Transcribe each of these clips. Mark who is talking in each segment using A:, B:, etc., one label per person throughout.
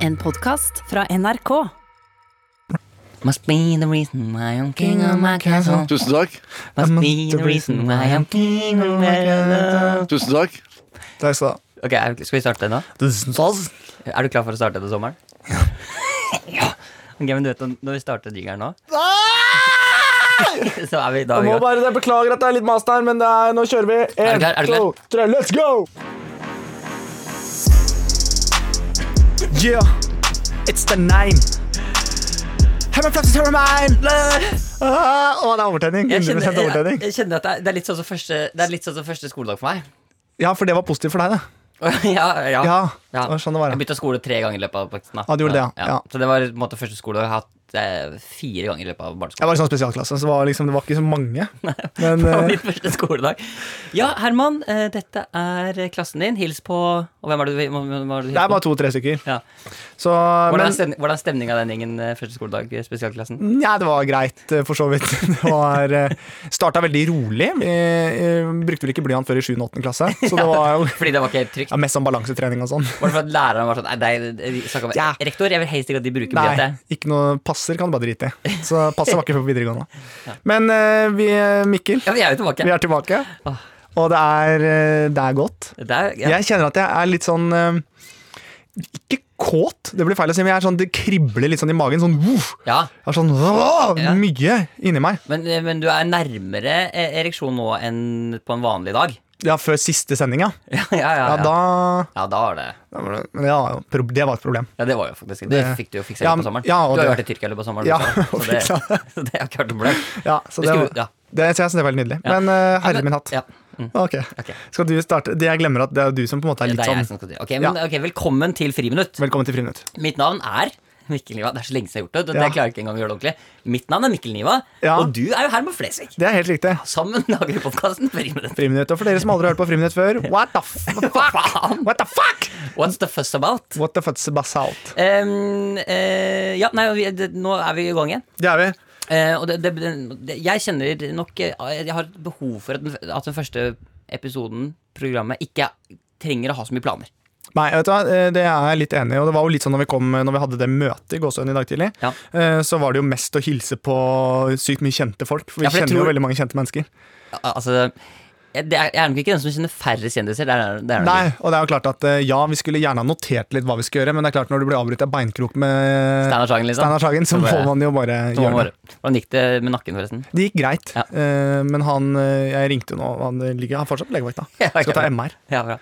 A: En podkast fra NRK.
B: Must be the reason why I'm king of my castle.
C: Tusen takk.
B: Must be the
D: sånn,
B: reason why I'm king of my castle.
C: Tusen takk.
D: Takk skal du ha.
B: Ok, er- Skal vi starte nå?
D: Tusen takk.
B: Er du klar for å starte til sommeren? ja. Ok, men du vet, Når vi starter jingeren nå, så er vi da i
D: Jeg Ah, må
B: gang.
D: bare jeg beklager at det er litt mas der, men det er, nå kjører vi.
B: Er du klar? Er du klar?
D: to, tre, let's go! Yeah, it's the nine. Hammerflaps is hammermine. Ah, Å, det er overtenning.
B: Jeg
D: 100
B: kjenner, jeg,
D: overtenning.
B: jeg kjenner at det er, det er litt sånn som første Det er litt sånn som første skoledag for meg.
D: Ja, for det var positivt for deg, det.
B: ja, ja.
D: Ja, det var sånn det var.
B: Jeg bytta skole tre ganger i løpet av oppveksten. da.
D: Ja, du gjorde det, ja. Ja.
B: Så det var på en måte første skoledag jeg har hatt eh, fire ganger i løpet av barneskolen.
D: Jeg var i sånn spesialklasse, så det var, liksom, det var ikke så mange. Men
B: på
D: eh,
B: min første skoledag. Ja, Herman, eh, dette er klassen din. Hils på Og hvem er det du, hvem er det du
D: det er
B: hilser på?
D: bare to-tre stykker.
B: Ja.
D: Så,
B: Hvordan
D: men
B: er stemning- hvordan er stemninga den gjengen eh, første skoledag, eh, spesialklassen?
D: Nja, det var greit, eh, for så vidt. Det var eh, Starta veldig rolig. Eh, eh, Brukte vel ikke blyant før i 7. og 8. klasse, så det var jo
B: Fordi det var ikke helt trygt?
D: ja, mest sånn balansetrening og sånn.
B: Var det for at læreren var sånn Nei, nei, vi snakker om Eh,
D: Ja.
B: rektor, jeg vil helst ikke at de bruker
D: Nei,
B: brettet.
D: ikke noe passer kan du bare drite i. Så passer var ikke på videregående. Men eh, vi, Mikkel,
B: Ja, vi er jo tilbake.
D: vi er tilbake,
B: Åh.
D: og det er, eh, det er godt.
B: Det er, ja.
D: Jeg kjenner at jeg er litt sånn eh, Ikke kåt, det blir feil å si, men jeg er sånn, det kribler litt sånn i magen. Sånn voff!
B: ja.
D: Jeg er sånn åh,
B: Ja.
D: mye inni meg.
B: Men, eh, men du er nærmere eh, ereksjon nå enn på en vanlig dag.
D: Ja, før siste sending, ja.
B: Ja, ja, ja.
D: Ja,
B: ja.
D: da
B: ja da var det
D: Ja, Men men det var, jo pro- det var et problem.
B: Ja, det var jo faktisk Det
D: Det-
B: fikk du jo fiksa
D: Ja,
B: litt på sommeren.
D: ja, og
B: du har jo
D: det-
B: vært i Tyrkia i løpet av sommeren.
D: Ja,
B: også, så,
D: og
B: det,
D: fiksa det.
B: så det har ikke vært noe problem.
D: Ja, så
B: Vi
D: det,
B: skulle-
D: var-
B: ja.
D: det så jeg synes det er veldig nydelig. Men eh, herre min hatt.
B: Ja. Mm.
D: Ok.
B: Ok.
D: Skal du starte? Det jeg glemmer at det er jo du som på en måte er
B: Det
D: litt
B: er jeg
D: sånn
B: som skal si. Ok, men, ok, velkommen til Friminutt.
D: Velkommen til Friminutt.
B: Mitt navn er Mikkel Niva. Det er så lenge siden jeg har gjort det. det
D: Ja.
B: Jeg klarer ikke engang å gjøre det ordentlig. Mitt navn er Mikkel Niva,
D: Ja.
B: og du er jo Herman Flesvig.
D: Det er helt riktig.
B: Sammen lager vi podkasten Friminutt.
D: Friminutt. Og for dere som aldri har hørt på Friminutt før, what the fuck?
B: Hva faen?
D: What the fuck?
B: What's the fuss about?
D: What the fuck's basalt?
B: Em, eh, ja, nei, vi, det, nå er vi i gang igjen.
D: Det er vi.
B: Eh, og det, det, det, jeg kjenner nok eh, Jeg har et behov for at den, at den første episoden, programmet, ikke trenger å ha så mye planer.
D: Nei, vet du hva, eh, det er jeg litt enig i. Og det var jo litt sånn når vi kom Når vi hadde det møtet i Gåsøen i dag tidlig,
B: Ja.
D: eh, så var det jo mest å hilse på sykt mye kjente folk. For vi
B: Ja, for jeg
D: kjenner jo
B: tror-
D: veldig mange kjente mennesker.
B: Al- Altså jeg, det er, jeg er nok ikke den som kjenner færre kjendiser. Det er, det er nok
D: Nei, og det er jo klart at eh, ja, vi skulle gjerne ha notert litt hva vi skulle gjøre, men det er klart når du blir avbrutt av beinkrok med
B: Steinar Sagen, liksom.
D: Steinar Sagen,
B: Så
D: så må
B: bare-
D: man jo bare
B: Så
D: gjøre det.
B: bare- Hvordan gikk det med nakken, forresten?
D: Det gikk greit,
B: Ja.
D: eh, men han eh, Jeg ringte jo nå, og han ligger han er fortsatt på legevakta.
B: Ja, ok.
D: Skal ta MR.
B: Ja, bra.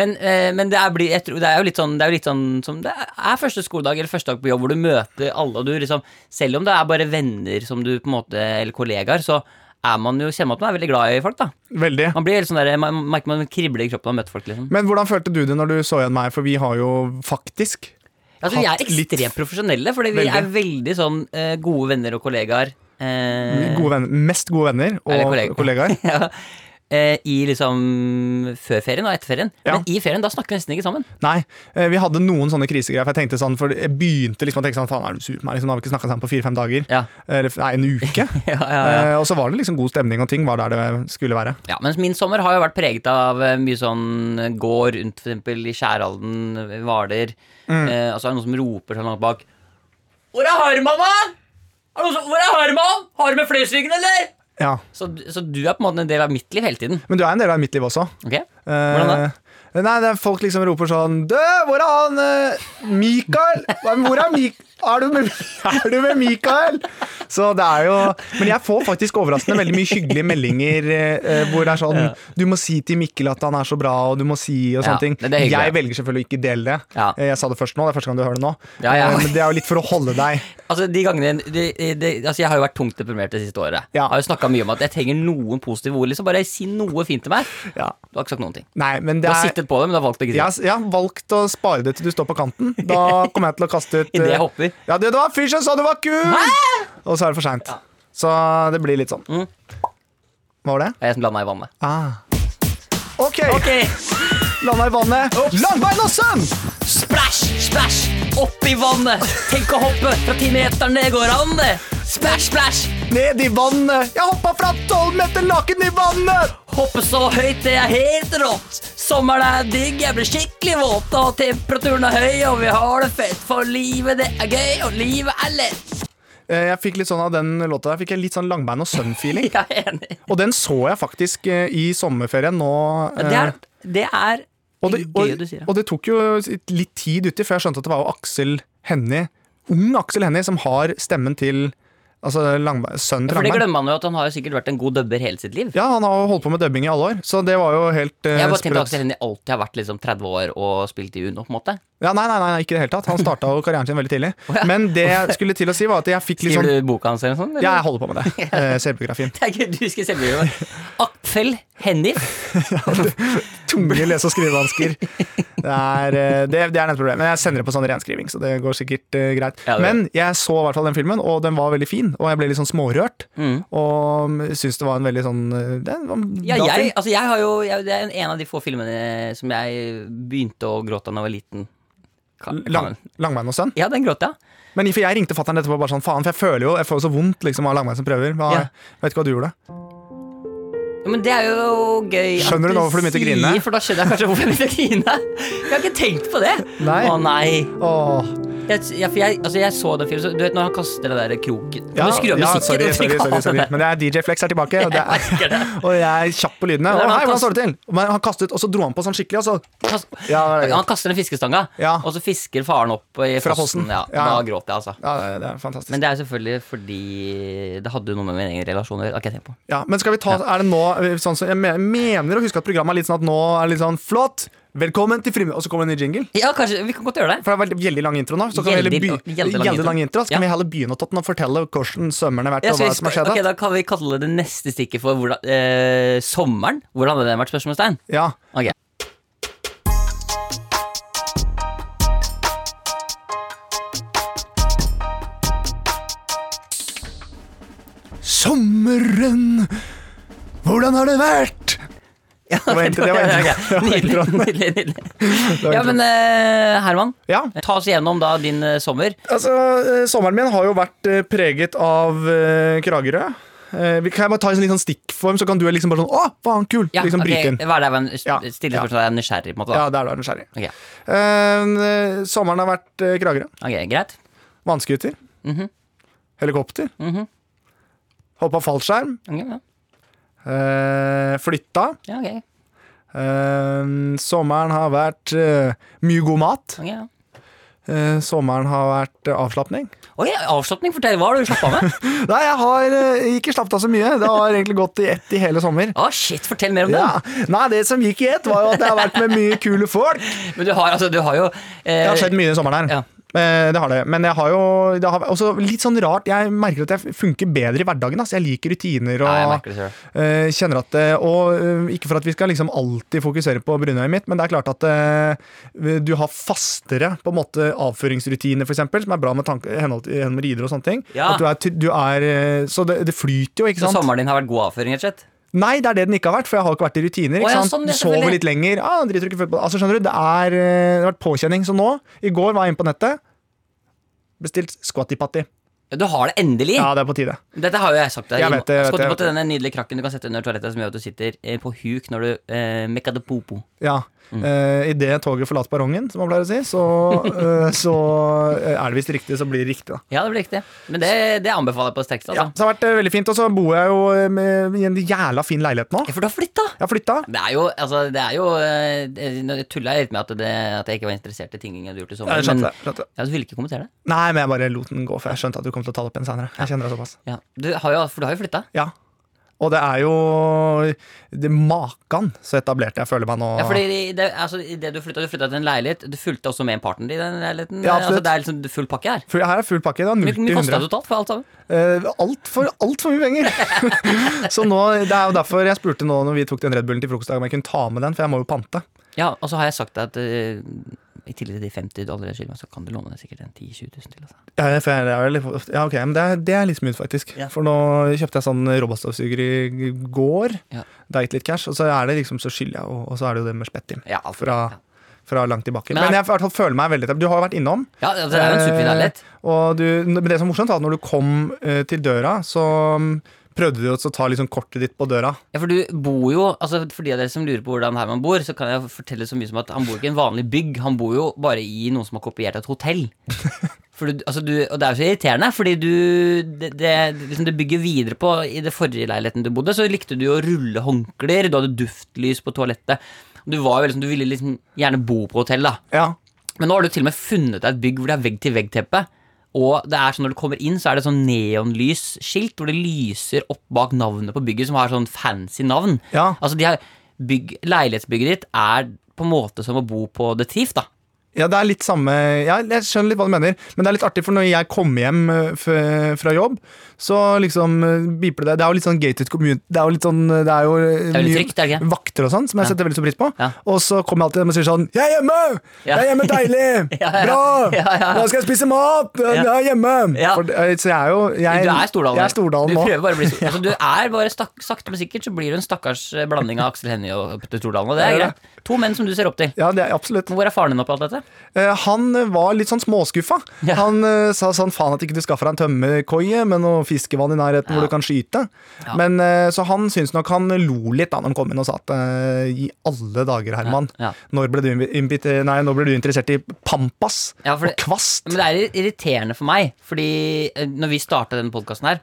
B: Men, eh, men det, er, bli- jeg tror, det er jo litt sånn, det er jo litt sånn som det er første skoledag eller første dag på jobb, hvor du møter alle, og du liksom Selv om det er bare venner som du på en måte Eller kollegaer, så er man jo kjenner man at man er veldig glad i folk, da.
D: Veldig.
B: Man blir helt sånn der, man merker man kribler i kroppen av å møte folk, liksom.
D: Men hvordan følte du det når du så igjen meg, for vi har jo faktisk
B: Altså, vi er
D: hatt litt-
B: ekstremt profesjonelle, fordi vi
D: Veldig.
B: er veldig sånn eh, gode venner og kollegaer. Eh,
D: gode venner, mest gode venner og
B: Eller kollegaer.
D: kollegaer.
B: ja. Eh, I liksom før ferien og etter ferien.
D: Ja.
B: Men i ferien da snakker vi nesten ikke sammen.
D: Nei, eh, vi hadde noen sånne krisegreier. For jeg tenkte sånn, for jeg begynte liksom å tenke sånn Faen, er du sur på meg? Liksom, nå har vi ikke snakka sammen på fire-fem dager.
B: Ja.
D: Eller nei, en uke.
B: Ja, ja, ja.
D: Eh, og så var det liksom god stemning, og ting var der det skulle være.
B: Ja, Mens min sommer har jo vært preget av eh, mye sånn eh, gå rundt for eksempel i Skjærhalden, eh, Hvaler.
D: Mm.
B: Eh, og så er det noen som roper sånn langt bak. Hvor er Harman, da? Er det noen som, hvor er Harman? Har du med Flesvigen, eller?
D: Ja.
B: Så, så du er på en måte en del av mitt liv hele tiden.
D: Men du er en del av mitt liv også.
B: ok?
D: Eh,
B: Hvordan da?
D: Nei, det er Folk liksom roper sånn Dø, hvor er han eh, Mikael? Hva- Hvor er Mik... Er du, med, er du med Mikael? Så det er jo Men jeg får faktisk overraskende veldig mye hyggelige meldinger eh, eh, hvor det er sånn Du må si til Mikkel at han er så bra, og du må si og
B: Ja,
D: sånne ting.
B: det er hyggelig.
D: jeg velger selvfølgelig å ikke dele det.
B: Ja.
D: Eh, Jeg sa det først nå, det er første gang du hører det nå.
B: Ja, ja.
D: Eh, Men det er jo litt for å holde deg
B: Altså, de gangene de, de, de, altså, Jeg har jo vært tungt deprimert det siste året.
D: Ja.
B: Jeg har jo snakka mye om at jeg trenger noen positive ord. Liksom Bare si noe fint til meg.
D: Ja.
B: Du har ikke sagt noen ting.
D: Nei, men
B: Du
D: det
B: har
D: er
B: sittet på det, men du har valgt å ikke si
D: jeg
B: det.
D: har, jeg har valgt å spare det til du står på kanten. Da kommer jeg til å kaste ut
B: I det jeg
D: eh,
B: hopper.
D: Ja, det, det var en fyr som sa du var kul! Og så er det for seint. Så det blir litt sånn.
B: Mm.
D: Hva var det?
B: Det er jeg som blanda i vannet.
D: Ah. Ok,
B: Ok,
D: landa i vannet. Langbein og sønn!
B: Splæsj, splæsj, opp i vannet. Tenk å hoppe fra ti meter ned går an, det. Splash, splash!
D: ned i vannet. Jeg hoppa fra tolv meter laken i vannet.
B: Hoppe så høyt, det er helt rått. Sommeren er digg, jeg blir skikkelig våt. Og temperaturen er høy, og vi har det fett. For livet, det er gøy, og livet er lett.
D: Eh, Jeg fikk litt sånn av den låta der, fikk jeg litt sånn langband og søvn-feeling.
B: Jeg er enig.
D: Og den så jeg faktisk eh, i sommerferien nå. eh,
B: Det er, det er
D: og, det,
B: gøy
D: og,
B: du sier.
D: og det tok jo litt tid uti før jeg skjønte at det var jo Aksel Hennie, ung Aksel Hennie, som har stemmen til altså Langbein, sønnen til
B: For det
D: Langbein.
B: glemmer man jo at han har jo sikkert vært en god dubber hele sitt liv.
D: Ja, han har jo holdt på med dubbing i alle år, så det var jo helt eh,
B: Jeg har bare tenkt at
D: sprøtt.
B: Aksel Hennie alltid har vært liksom 30 år og spilt i Uno. på en måte
D: Ja, nei, nei, nei, ikke i det hele tatt. Han starta jo karrieren sin veldig tidlig. Men det jeg skulle til å si, var at jeg fikk litt
B: Skriver
D: sånn
B: du boka hans eller noe sånt? eller?
D: Ja, jeg holder på med det. Eh, Selvbiografien.
B: Det er ikke du skal selge meg. Aksel Hennie.
D: Tunge lese- og skrivevansker. Det er, eh, det, det er nettopp problemet. Men jeg sender det på sånn renskriving, så det går sikkert eh, greit.
B: Ja, det gjør
D: Men jeg så i hvert fall den filmen, og den var veldig fin. Og jeg ble litt sånn smårørt. Og syns det var en veldig sånn eh, Det var en
B: Mm. Ja,
D: bra
B: jeg,
D: film.
B: altså jeg har jo, jeg, det er en- en av de få filmene som jeg begynte å gråte av da jeg var liten. Kan,
D: Lang,
B: kan.
D: Langbein og sønn.
B: Ja, den gråt jeg.
D: Men for jeg ringte fatter'n etterpå bare sånn faen, for jeg føler jo Jeg får jo så vondt liksom av Langbein som prøver. Hva,
B: Ja.
D: Vet ikke hva du gjorde?
B: Ja, men det er jo gøy. at
D: Skjønner du nå hvorfor du begynte å
B: sier,
D: grine?
B: For da skjønner jeg kanskje hvorfor jeg begynte å grine. Jeg har ikke tenkt på det.
D: Nei.
B: Å nei.
D: Åh,
B: Jeg, jeg, for jeg, altså jeg så den filmen, så du vet når han kaster det der kroken Kan
D: ja,
B: du skru av
D: ja,
B: musikken?
D: sorry,
B: og
D: sorry,
B: trykke
D: sorry,
B: av
D: sorry.
B: det?
D: Men det er DJ Flex er tilbake, og, det
B: merker
D: er,
B: det.
D: og jeg er kjapp på lydene.
B: Men
D: Å
B: han
D: nei, hvordan
B: kast-
D: står det til? Men han kastet, og så dro han på sånn skikkelig, og så
B: Kast-
D: Ja, det er greit.
B: han kaster den fiskestanga,
D: Ja.
B: og så fisker faren opp i
D: Fra
B: fossen.
D: fossen.
B: Ja,
D: Ja.
B: Da gråter jeg, altså.
D: Ja, det- det er fantastisk.
B: Men det er selvfølgelig fordi det hadde jo noe med min egen relasjon å gjøre. Ok, tenk på.
D: Ja, men skal vi ta, er det nå sånn som, Jeg me- mener å huske at programmet er litt sånn at nå er det litt sånn Flott! Velkommen til Friminutt! Og så kommer en ny jingle.
B: Ja, kanskje, vi kan godt gjøre det.
D: For det er veldig, veldig lang intro nå. Så kan
B: Veldig-
D: vi heller by,
B: veldig lang
D: veldig
B: intro.
D: lang intro Så kan
B: Ja.
D: vi heller begynne å ta den og fortelle hvordan sømmeren har vært.
B: Ja,
D: Og
B: skal
D: hva
B: vi
D: som har
B: sp-
D: skjedd
B: ok, da kan vi kalle det neste stikket for hvordan, eh, sommeren. Hvordan hadde den vært? Spørsmålstegn.
D: ja.
B: Ok.
D: Sommeren! Hvordan har det vært?
B: Ja,
D: var intro- det var intro.
B: ok.
D: Det var
B: Nydelig,
D: introen.
B: nydelig, nydelig.
D: var
B: Ja, men eh, Herman,
D: Ja,
B: ta oss igjennom da din eh, sommer.
D: altså eh, Sommeren min har jo vært eh, preget av eh, Kragerø. Eh, vi- Kan jeg bare ta en sånn, litt sånn stikkform, så kan du liksom bare sånn Å, faen, kul!
B: Ja,
D: liksom
B: ok,
D: bryte inn.
B: Hva er det jeg var en-
D: Ja.
B: stille
D: Ja.
B: spørsmål? Jeg er nysgjerrig, på en måte.
D: Ja,
B: Da.
D: der du er nysgjerrig.
B: Ok.
D: Eh, sommeren har vært eh, Kragerø.
B: ok, greit.
D: Vannskuter.
B: Mhm.
D: Helikopter. Hoppa fallskjerm.
B: Ok, ja.
D: Eh, flytta.
B: Ja, ok.
D: Eh, sommeren har vært eh, mye god mat.
B: Ok, ja.
D: Eh, sommeren har vært eh, avslapning.
B: Oi, avslutning, fortell. Hva har du slappa av med?
D: Nei, jeg har eh, ikke slappet av så mye. Det har egentlig gått i ett i hele sommer.
B: Å, Ah, shit, fortell mer om det.
D: Ja. Nei, det som gikk i ett, var jo at jeg har vært med mye kule folk.
B: Men du har, altså, du har jo eh,
D: Det har skjedd mye i sommeren her.
B: Ja.
D: Eh, Det har det, men jeg har jo det har også litt sånn rart Jeg merker at jeg funker bedre i hverdagen. ass. Jeg liker rutiner og
B: Ja, jeg merker det selv.
D: eh, kjenner at det Og eh, ikke for at vi skal liksom alltid fokusere på brunøyet mitt, men det er klart at eh, du har fastere på en måte avføringsrutiner, f.eks., som er bra med tanke, henhold til gjennom rider og sånne ting.
B: Ja.
D: At du er, ty- du er, eh, så det, det flyter jo, ikke
B: Så
D: sant?
B: sommeren din har vært god avføring, rett og slett?
D: Nei, det er det den ikke har vært, for jeg har ikke vært i rutiner.
B: Å
D: Ikke
B: ja,
D: sant?
B: sånn, ja,
D: Du sover
B: selvfølgelig.
D: litt lenger. Ah, driter du ikke fotball. Altså, skjønner du, det, er, eh, det har vært påkjenning. Så nå, i går var jeg inne på nettet, bestilt squatty patty.
B: Ja, Du har det endelig!
D: Ja, det er på tide.
B: Dette har jo jeg sagt deg.
D: Jeg vet det, jeg vet det, jeg
B: Skottepott
D: vet
B: er denne nydelige krakken du kan sette under toalettet som gjør at du sitter eh, på huk når du eh, mekka de popo.
D: Ja.
B: Mm.
D: Eh, Idet toget forlater perrongen, som man pleier å si, så, eh, så eh, er det visst riktig, så blir det riktig, da.
B: Ja, det blir riktig. Men det, det anbefaler jeg på det sterkeste.
D: Ja,
B: Altså.
D: så det har vært eh, veldig fint, og så bor jeg jo eh, med, i en jævla fin leilighet nå.
B: Ja. For du har flytta!
D: Jeg har flytta.
B: Det er jo, altså, det er jo eh, det- Nå tulla jeg litt med at, det, at jeg ikke var interessert i ting jeg hadde gjort i sommer.
D: Jeg skjønte
B: men
D: det. Skjønte. det.
B: ja, du ville ikke kommentere det?
D: Nei, men jeg bare lot den gå, for jeg skjønte at du kom til å ta det opp igjen seinere. Jeg kjenner deg såpass.
B: Ja. Du har jo, for du har jo flytta.
D: Ja. Og det er jo det Makan så etablert jeg føler meg nå.
B: Ja, fordi det, altså, i det du flytta du flyttet til en leilighet. Du fulgte også med en partner i den leiligheten.
D: Ja,
B: altså,
D: absolutt.
B: det er liksom full pakke her.
D: For Her er full pakke. Det er
B: Hvor
D: 0
B: mye
D: til
B: kosta
D: 100.
B: det totalt for alt sammen?
D: Eh, Altfor alt for mye penger! så nå, det er jo derfor jeg spurte nå når vi tok den Red Bullen til frokostdag om jeg kunne ta med den, for jeg må jo pante.
B: Ja, og så har jeg sagt at eh, i tillegg til de 50 du allerede skylder meg, så kan du låne deg sikkert en 10 000-20 000 til. Altså.
D: Ja, for jeg, det er vel, litt- ja, ok, men det, er- det er litt smooth, faktisk.
B: Ja.
D: For nå kjøpte jeg sånn robotstøvsuger i går.
B: Ja.
D: Det er gitt litt cash, og så er det liksom, så skylder jeg, og, og så er det jo det med spett til.
B: Ja, alt-
D: Fra, fra langt tilbake.
B: Men er-
D: Men jeg i hvert fall føler meg veldig Du har jo vært innom.
B: Ja, altså, det er jo en superfinalett.
D: Eh, Og du, men det som er morsomt, var at når du kom eh, til døra, så mm, prøvde du også å ta liksom kortet ditt på døra.
B: Ja, for du bor jo altså For de av dere som lurer på hvordan Herman bor, så kan jeg fortelle så mye som at han bor ikke i en vanlig bygg. Han bor jo bare i noe som er kopiert av et hotell. For du, altså du, og det er jo så irriterende, fordi du det, det, liksom det bygger videre på I det forrige leiligheten du bodde, så likte du jo å rulle håndklær, du hadde duftlys på toalettet. Du, var jo liksom, du ville liksom gjerne bo på hotell, da.
D: Ja.
B: Men nå har du til og med funnet deg et bygg hvor det er vegg-til-vegg-teppe. Og det er sånn når du kommer inn, så er det sånn neonlysskilt hvor det lyser opp bak navnet på bygget, som har sånn fancy navn.
D: Ja.
B: Altså de her bygg, Leilighetsbygget ditt er på en måte som å bo på The Thief, da.
D: Ja, det er litt samme ja, Jeg skjønner litt hva du mener, men det er litt artig, for når jeg kommer hjem eh, f fra jobb, så liksom eh, biper det Det er jo litt sånn gated community Det er jo litt sånn eh, Det er jo, eh,
B: Det er veldig
D: mye
B: trygt, er det ikke?
D: vakter og sånn, som jeg
B: Ja.
D: setter veldig stor pris på.
B: Ja.
D: Og så kommer jeg alltid hjem og sier sånn 'Jeg er hjemme! Jeg er hjemme deilig!
B: Ja, ja.
D: Bra!
B: Ja, ja.
D: Nå skal jeg spise mat! Jeg
B: Ja.
D: er hjemme!'
B: Ja.
D: For, eh, så jeg er jo jeg,
B: Du er Stordalen.
D: Jeg er Stordalen
B: du
D: nå.
B: prøver bare å bli Stordalen. Altså, du er bare stak, sakte, men sikkert så blir du en stakkars eh, blanding av Aksel Hennie og Petter Stordalen. Og det er
D: Ja, ja.
B: greit. To menn som du ser opp til.
D: Ja, det er absolutt.
B: Men hvor er faren din oppi alt dette?
D: Eh, Han eh, var litt sånn småskuffa.
B: Ja.
D: Han eh, sa sånn faen at ikke du skaffer deg en tømmerkoie med noe fiskevann i nærheten
B: Ja.
D: hvor du kan skyte.
B: Ja.
D: Men, eh, så han syns nok han lo litt da når han kom inn og sa at eh, i alle dager, Herman,
B: Ja.
D: Når, ble du invi- invit- eh, nei, når ble du interessert i pampas
B: Ja, for det-
D: og kvast?
B: Men det er irriterende for meg, fordi eh, når vi starta denne podkasten her,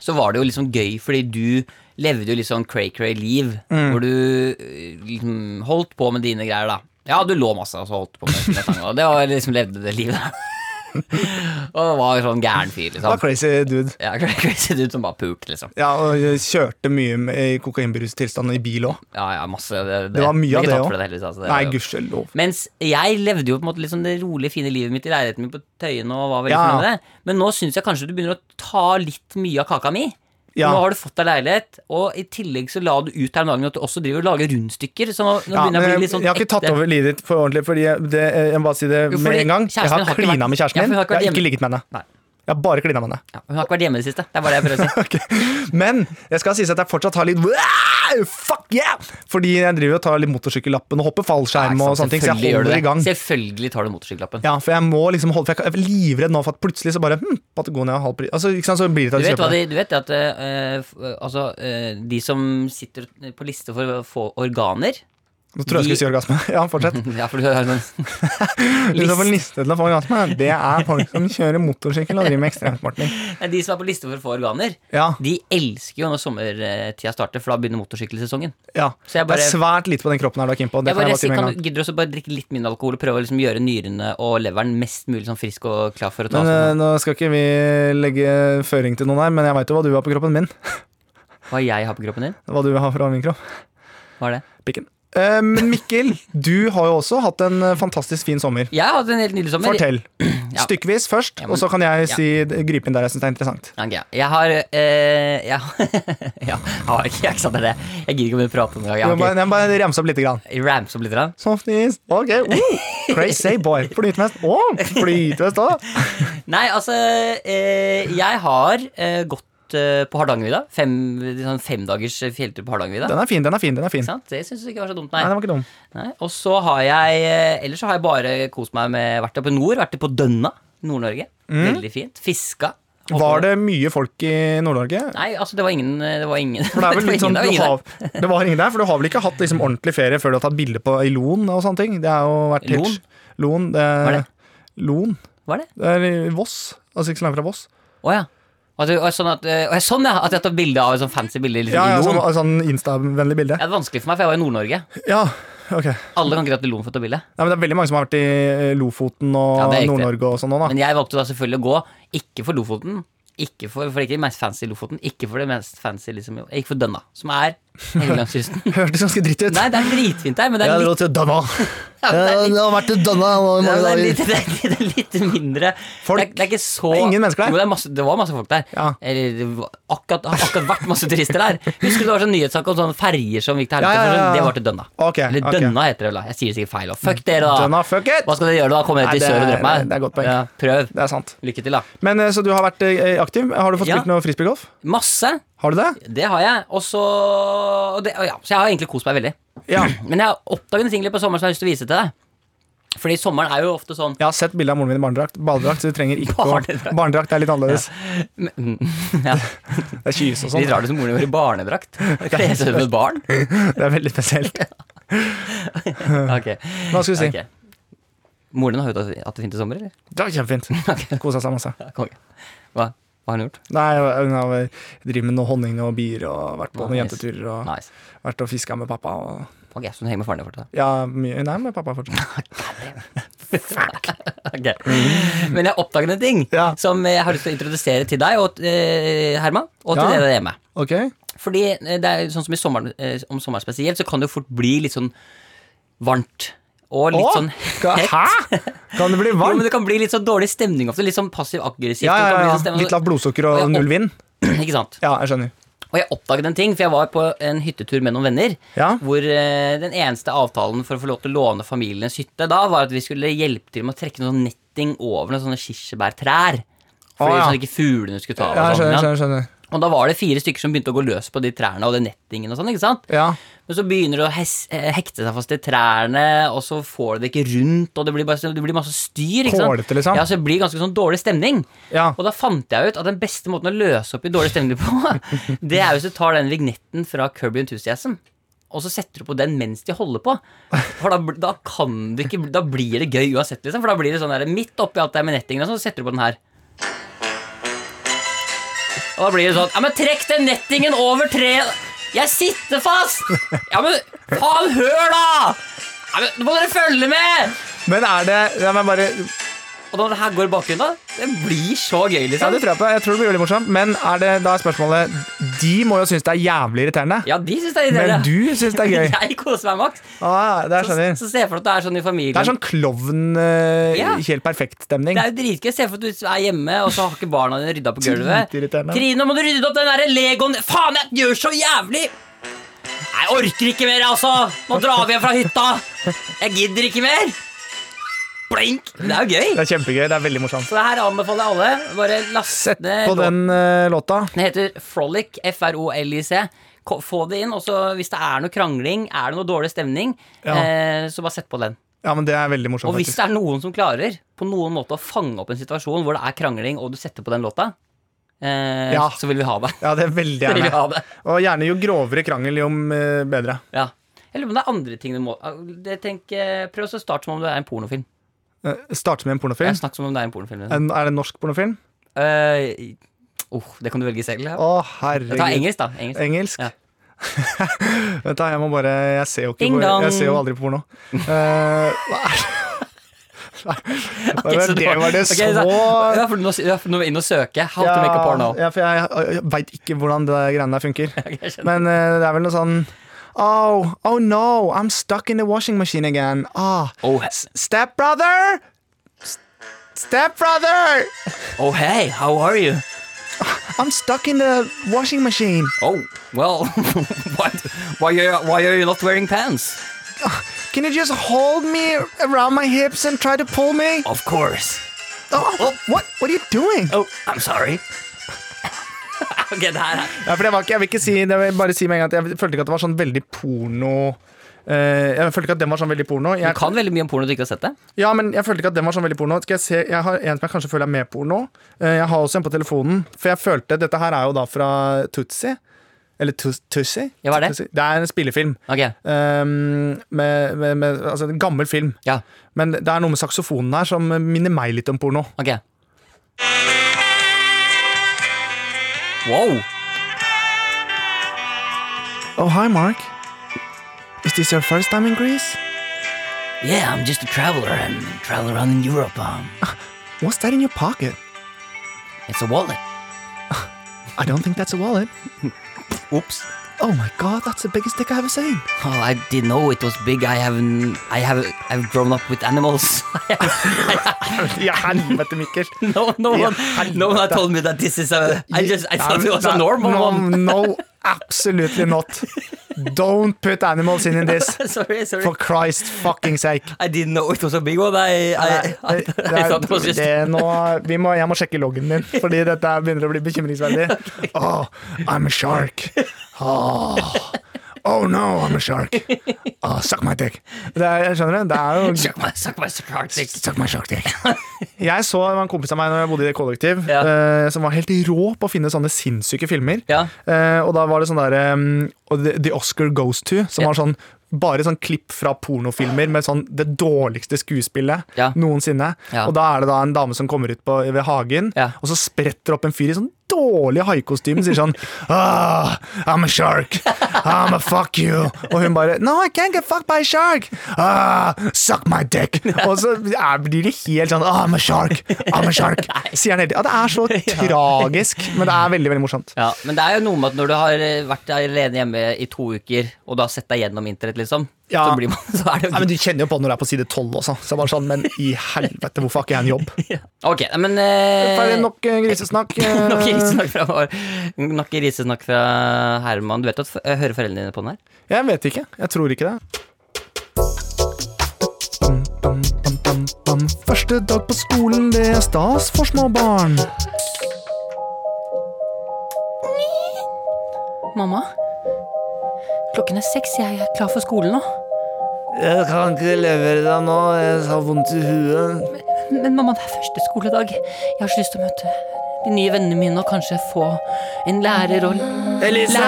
B: så var det jo liksom gøy, fordi du levde jo litt sånn cray-cray liv,
D: Mm.
B: hvor du eh, liksom holdt på med dine greier, da. Ja, du lå masse og så holdt på med med tanga, og det var liksom levde det livet. og var sånn gæren fyr,
D: Det var
B: liksom.
D: crazy dude.
B: Ja, crazy dude som bare pulte, liksom.
D: Ja, og jeg kjørte mye med- i kokainberuset tilstand i bil òg.
B: Ja, ja, masse. Det,
D: Det var mye av det òg.
B: òg. Altså, det-
D: Nei, gudskjelov.
B: Mens jeg levde jo på en måte litt sånn det rolige, fine livet mitt i leiligheten min på Tøyen. og var veldig
D: Ja.
B: fornøyd med det. Men nå syns jeg kanskje du begynner å ta litt mye av kaka mi.
D: Ja.
B: Nå har du fått deg leilighet, og i tillegg så la du ut her om dagen at du også driver og lager rundstykker. Så nå, nå
D: Ja,
B: begynner jeg å
D: men
B: bli
D: jeg,
B: litt sånn
D: jeg har ikke tatt over livet ditt for ordentlig, Fordi jeg- det, jeg må bare si det
B: Jo, fordi
D: med en gang.
B: kjæresten
D: Jeg har
B: din har ikke
D: klina
B: vært-
D: med kjæresten
B: Ja, for
D: min.
B: hun har ikke
D: Jeg
B: vært
D: har ikke
B: hjemme.
D: ligget med henne.
B: Nei.
D: Jeg har bare klina med henne.
B: Ja, hun har ikke vært hjemme i det siste. Det er bare det jeg prøver å si.
D: Men jeg skal sies at jeg fortsatt har litt Wow, Fuck yeah! Fordi jeg driver og tar litt motorsykkellappen og hopper
B: Ja,
D: fallskjerm
B: ikke sant,
D: og sånne ting. Så
B: selvfølgelig
D: jeg
B: gjør du
D: holder
B: det.
D: i gang.
B: Selvfølgelig tar du motorsykkellappen.
D: Ja, for jeg må liksom holde For jeg er livredd nå for at plutselig så bare hm, Patagonia har halv pris altså, ikke sant, Så blir det
B: Du
D: til at
B: vet,
D: jeg
B: hva
D: kjøper det.
B: de, du vet det at eh, f- altså, eh, de som sitter på liste for å få organer
D: Nå tror jeg jeg skulle si orgasme. Ja, fortsett.
B: Ja, for du har en sånn
D: Liste. Liste til å få orgasme, det er folk som kjører motorsykkel og driver med ekstremsporting.
B: Nei, De som er på liste for å få organer,
D: Ja,
B: de elsker jo når sommertida starter, for da begynner motorsykkelsesongen.
D: ja.
B: Så jeg
D: det
B: bare-
D: er svært lite på den kroppen her du er keen på.
B: Jeg
D: Det kan
B: bare,
D: jeg bare si
B: sier,
D: med en
B: kan
D: gang.
B: du gidder også bare drikke litt mindre alkohol og prøve å liksom gjøre nyrene og leveren mest mulig sånn frisk og klar for å ta sånn? seg
D: Men eh, Nå skal ikke vi legge føring til noen her, men jeg veit jo hva du har på kroppen min. eh,
B: Hva jeg har på kroppen din?
D: Hva du har fra min kropp.
B: Hva er det?
D: Pikken. Eh, Men Mikkel, du har jo også hatt en eh, fantastisk fin sommer.
B: Jeg har hatt en helt nydelig sommer.
D: Fortell. Stykkevis først,
B: Ja, men-
D: og så kan jeg
B: ja.
D: si, eh, gripe inn der jeg syns det er interessant.
B: Ja, ok. Jeg har eh, jeg, ja, jeg har ikke jeg, ikke sant, det er det. jeg gidder ikke å begynne å prate om det.
D: Jeg må
B: Jeg har
D: bare, jeg må bare ramse opp lite grann.
B: ikke rams opp litt. grann.
D: Softis. Ok. Uh, crazy boy. Flytevest. Å, flytevest òg.
B: Nei, altså eh, Jeg har eh, gått eh, på Hardangervidda. Fem, sånn femdagers fjelltur på Hardangervidda.
D: Den er fin, den er fin. den er fin
B: Ikke
D: Nei,
B: sant? Det syns jeg ikke var så dumt,
D: den var ikke dum.
B: Sånn, Nei, og så har jeg eh, Ellers så har jeg bare kost meg med Vært oppe i nord, vært på Dønna, Nord-Norge Veldig fint, fiska
D: Mm. Var det mye folk i Nord-Norge?
B: Nei, altså det var ingen Det var ingen
D: For det er vel
B: var
D: litt
B: ingen-
D: sånn
B: det var
D: du
B: ingen der.
D: har, Det var ingen der, for du har vel ikke hatt liksom ordentlig ferie før du har tatt bilde på i Loen og sånne ting? Det har jo vært helt
B: Loen?
D: Loen. Det,
B: Hva er det?
D: Loen.
B: Var det?
D: Det er i Voss. Altså ikke så langt fra Voss.
B: Åja At du- og sånn, at, eh, og jeg- sånn ja, at jeg tar bilde av et sånn fancy bilde liksom,
D: Ja,
B: i
D: ja,
B: Loen
D: sånn, sånn Insta-vennlig bilde.
B: Det er vanskelig for meg, for jeg var i Nord-Norge
D: Ja, ok. Nei,
B: Alle kan ikke dra til Loen for å ta bilde
D: men det er veldig mange som har vært i eh, Lofoten og
B: Ja, det er riktig.
D: Nord-Norge og sånn nå, da.
B: Men jeg valgte da selvfølgelig å gå Ikke for Lofoten ikke for, for det er ikke det mest fancy i Lofoten Ikke for det mest fancy liksom, Ikke for Dønna Som er hele langs kysten
D: Hørtes ganske dritt ut.
B: Nei, det er dritfint der Men det er litt
D: dro til Dønna.
B: Ja, men det er litt-
D: har vært til Dønna i
B: Ja, det, er litt, det, er, det er litt mindre
D: Folk-
B: det, er, det er ikke så
D: det er ingen mennesker der.
B: Jo, det, er masse, det var masse folk der.
D: Ja.
B: Eller det var akkurat, har akkurat vært masse turister der. Husker du det var sånn nyhetssak om sånne ferjer som gikk til helvete?
D: Ja, ja, ja, ja.
B: Det var til Dønna.
D: Ok,
B: Eller
D: ok.
B: Dønna heter det vel. da. Jeg sier det sikkert feil. Og fuck dere, da!
D: Dønna, fuck it!
B: Hva skal dere gjøre da? Komme
D: Nei,
B: dere til
D: det
B: sør og
D: er-
B: drepe meg?
D: det er godt poeng.
B: Ja, prøv.
D: Det er sant.
B: Lykke til, da.
D: Men eh, Så du har vært eh, aktiv? Har du fått
B: Ja.
D: spilt noe frisbeegolf?
B: Masse.
D: Har du det?
B: Det har jeg. Og så og det, og ja, Så jeg har egentlig kost meg veldig.
D: Ja.
B: Men jeg har oppdaget en ting litt på sommeren som jeg har lyst til å vise til deg. Fordi sommeren er jo ofte sånn
D: Jeg har sett bilde av moren min i barnedrakt. Badedrakt, så du trenger ikke å
B: Barnedrakt.
D: Barnedrakt er litt annerledes.
B: Mm, ja.
D: Det er kyse
B: Litt
D: og sånn.
B: rart det som moren vår i barnedrakt. Kle seg ut som et barn.
D: Det er veldig spesielt.
B: Ok,
D: Hva skal vi si?
B: ok. Moren din har hørt at det er fint i sommer, eller?
D: Det var kjempefint. Kosa seg masse.
B: Ja, Konge. Hva, hva har hun gjort?
D: Nei, hun har vel drevet med noe honning og bier og vært på noen
B: Nice.
D: jenteturer og
B: Nice.
D: vært og fiska med pappa og
B: Ok, så hun henger med faren din fortsatt?
D: Ja, mye Nei, med pappa fortsatt.
B: Ok. Men jeg oppdaget en ting
D: Ja.
B: som jeg har lyst til å introdusere til deg og eh, Herman, og til
D: Ja.
B: dere der hjemme.
D: Ok?
B: Fordi eh, det er jo sånn som i sommeren, eh, om sommeren spesielt, så kan det jo fort bli litt sånn varmt. Og litt
D: Å,
B: sånn
D: ka-
B: hett.
D: Hæ? Kan det bli
B: Jo, men
D: varmt?
B: det kan bli litt sånn dårlig stemning ofte. Litt sånn passiv-aggressivt.
D: Ja,
B: Det
D: ja,
B: kan bli
D: ja.
B: sånn stemning-
D: Litt lavt blodsukker
B: Og
D: og
B: jeg-
D: null vind.
B: Ikke sant?
D: Ja, jeg skjønner.
B: Og jeg oppdaget en ting, for jeg var på en hyttetur med noen venner.
D: Ja.
B: Hvor eh, den eneste avtalen for å få lov til å låne familiens hytte da, var at vi skulle hjelpe til med å trekke noe sånn netting over noen sånne kirsebærtrær. Fordi
D: Å, ja.
B: Sånn at ikke fuglene skulle ta av.
D: Ja,
B: og
D: jeg
B: sånn,
D: skjønner,
B: ja.
D: skjønner, skjønner.
B: Og da var det fire stykker som begynte å gå løs på de trærne og den nettingen og sånn. ikke sant?
D: Ja.
B: Men så begynner det å hes eh, hekte seg fast i trærne, og så får det det ikke rundt, og det blir, bare, så- det blir masse styr. ikke sant?
D: Kålete, liksom.
B: Ja, så det blir ganske sånn dårlig stemning.
D: Ja.
B: Og da fant jeg ut at den beste måten å løse opp i dårlig stemning på, det er hvis du tar den vignetten fra Kirby Enthusiasm, og så setter du på den mens de holder på. For da, bl- da kan du ikke Da blir det gøy uansett, liksom. For da blir det sånn der midt oppi alt det her med nettingen, og sånn, så setter du på den her. Og da blir det sånn Ja, men trekk den nettingen over treet! Jeg sitter fast! Ja, men faen, hør, da! Ja, men, nå må dere følge med!
D: Men er det ja, men bare,
B: Og når det her går i bakgrunnen, da, det blir så gøy,
D: ja,
B: liksom.
D: det tror jeg på. Jeg tror det blir veldig morsomt. Men er det, da er spørsmålet De må jo synes det er jævlig irriterende.
B: Ja, de syns det er irriterende.
D: Men du syns det er gøy.
B: Jeg koser meg maks.
D: Ah, det er,
B: Så,
D: skjønner.
B: så se for deg at du er sånn i familien.
D: Det er sånn klovn eh,
B: Ja.
D: helt perfekt-stemning.
B: Det er jo dritgøy. Se for deg at du er hjemme, og så har ikke barna dine rydda på gulvet.
D: Dritirriterende.
B: Trine, må du rydde opp den der Legoen Faen, jeg gjør så jævlig! Nei, Jeg orker ikke mer, altså! Nå drar vi hjem fra hytta! Jeg gidder ikke mer! Blink! Det er jo
D: Det
B: gøy.
D: er kjempegøy. Det er veldig morsomt.
B: Så det her anbefaler jeg alle. Bare last
D: Sett
B: ned
D: på den eh, låta.
B: Den heter Frolic, F-R-O-L-I-C. Ko- Få det inn, og så hvis det er noe krangling, er det noe dårlig stemning,
D: Ja.
B: eh, så bare sett på den.
D: Ja, men det er veldig morsomt,
B: Og hvis
D: faktisk.
B: det er noen som klarer på noen måte å fange opp en situasjon hvor det er krangling, og du setter på den låta, eh,
D: Ja.
B: så vil vi ha det.
D: Ja, det er veldig
B: Så vil vi
D: gjerne.
B: ha det.
D: Og gjerne jo grovere krangel, jo eh, bedre.
B: Ja. Jeg lurer på om det er andre ting du må Ah, det tenker, Prøv å starte som om det er en pornofilm.
D: Eh, Starte med en
B: Jeg
D: pornofilm.
B: snakker som om det Er en pornofilm liksom.
D: En, er det en norsk pornofilm?
B: Eh, oh, Det kan du velge selv. Ja.
D: Å,
B: Ta
D: herregud.
B: engelsk, da. Engelsk.
D: Engelsk?
B: Ja.
D: Vent, da. Jeg må bare Jeg ser jo, ikke
B: Ding
D: på,
B: dong.
D: jeg ser jo aldri på porno. Eh, hva er
B: Ok,
D: det?
B: så
D: Var det,
B: nå-
D: var det
B: ok, så-
D: så
B: ja, for nå, ja, for nå er vi inne og søker. How to make a porno.
D: Ja, for jeg, jeg veit ikke hvordan det der greiene der funker.
B: Jeg skjønner.
D: Men eh, det er vel noe sånn Oh, oh no, I'm stuck in the washing machine again. Ah,
B: Oh,
D: stepbrother! S- Stepbrother!
B: oh hey, how are you?
D: I'm stuck in the washing machine.
B: Oh, well, why, why, are, why are you not wearing pants?
D: Can you just hold me around my hips and try to pull me?
B: Of course.
D: Oh, what, what are you doing?
B: Oh, I'm sorry. ok, det her er
D: Ja, for det var ikke, jeg vil ikke si, det vil jeg bare si med en gang at jeg følte ikke at det var sånn veldig porno eh, Jeg følte ikke at den var sånn veldig porno.
B: Du
D: Jeg,
B: kan veldig mye om porno du ikke har sett det.
D: ja, men jeg følte ikke at den var sånn veldig porno. Skal jeg se, jeg har en som jeg kanskje føler er med porno. Eh, jeg har også en på telefonen, for jeg følte Dette her er jo da fra Tutsi. Eller Tus- Tussi?
B: Ja, hva er det?
D: Tutsi. Det er en spillefilm.
B: Ok,
D: Um, med, med, med, altså en gammel film.
B: ja,
D: Men det er noe med saksofonen her som minner meg litt om porno.
B: ok. Wow,
D: Oh, hi, Mark. Is this your first time in Greece?
B: yeah, I'm just a traveler and travel around in Europe. Um,
D: What's that in your pocket?
B: it's a wallet.
D: I don't think that's a wallet.
B: Oops.
D: Oh my god, that's the biggest dick I've ever seen.
B: Oh, I didn't know it was big. I haven't, I have, I've grown up with animals.
D: Ja, helvete, Mikkel.
B: no, no one, no one had told me that this is a, I just, I thought it was a normal
D: no,
B: one.
D: No, absolutely not. Don't put animals in, in this.
B: sorry, sorry.
D: For Christ fucking sake.
B: I didn't know it was a big one. I, I, I,
D: Det- det
B: I
D: er-
B: thought it was just
D: det er nå- vi må, jeg må sjekke loggen din, fordi dette her begynner å bli bekymringsverdig. Oh, I'm a shark. Oh, Oh no, I'm a shark. Oh, suck my dick. Det er, skjønner du? Det er jo
B: Suck my, suck my, suck my dick.
D: Suck my shark dick. Jeg så det var en kompis av meg når jeg bodde i kollektiv,
B: Ja.
D: eh, som var helt rå på å finne sånne sinnssyke filmer.
B: Ja.
D: Eh, og da var det sånn der eh, og The The Oscar Goes To, som
B: Ja.
D: var sånn bare sånn klipp fra pornofilmer med sånn det dårligste skuespillet
B: Ja.
D: noensinne.
B: Ja.
D: Og da er det da en dame som kommer ut på, ved hagen,
B: Ja.
D: og så spretter opp en fyr i sånn dårlig haikostyme og sier sånn ah, I'm a shark. I'm a fuck you. Og hun bare No, I can't get fucked by a shark. Ah, suck my dick. Og så er, blir det helt sånn ah, I'm a shark. I'm a shark. Sier han hele tiden. Ja, det er så tragisk, men det er veldig, veldig morsomt.
B: Ja, men det er jo noe med at når du har eh, vært alene hjemme i to uker, og du har sett deg gjennom internett, liksom,
D: Ja.
B: så, blir man, så er det
D: Nei, men Du kjenner jo på det når det er på side 12 også. Så jeg bare sånn, Men i helvete, hvorfor har ikke jeg en jobb?
B: Ok, nei, men eh,
D: Ferdig nok eh, grisesnakk. eh.
B: Nok risesnakk fra vår. Nok risesnakk fra Herman. Du vet at eh, hører foreldrene dine på den her?
D: Jeg vet ikke. Jeg tror ikke det. Bam, bam, bam, bam, bam. Første dag på skolen, det er stas for små barn.
A: Mamma, klokken er seks. Jeg er klar for skolen nå.
D: Jeg kan ikke levere deg nå. Jeg har vondt i huet.
A: Men mamma, det er første skoledag. Jeg har så lyst til å møte de nye vennene mine og kanskje få en lærer og
D: Elise!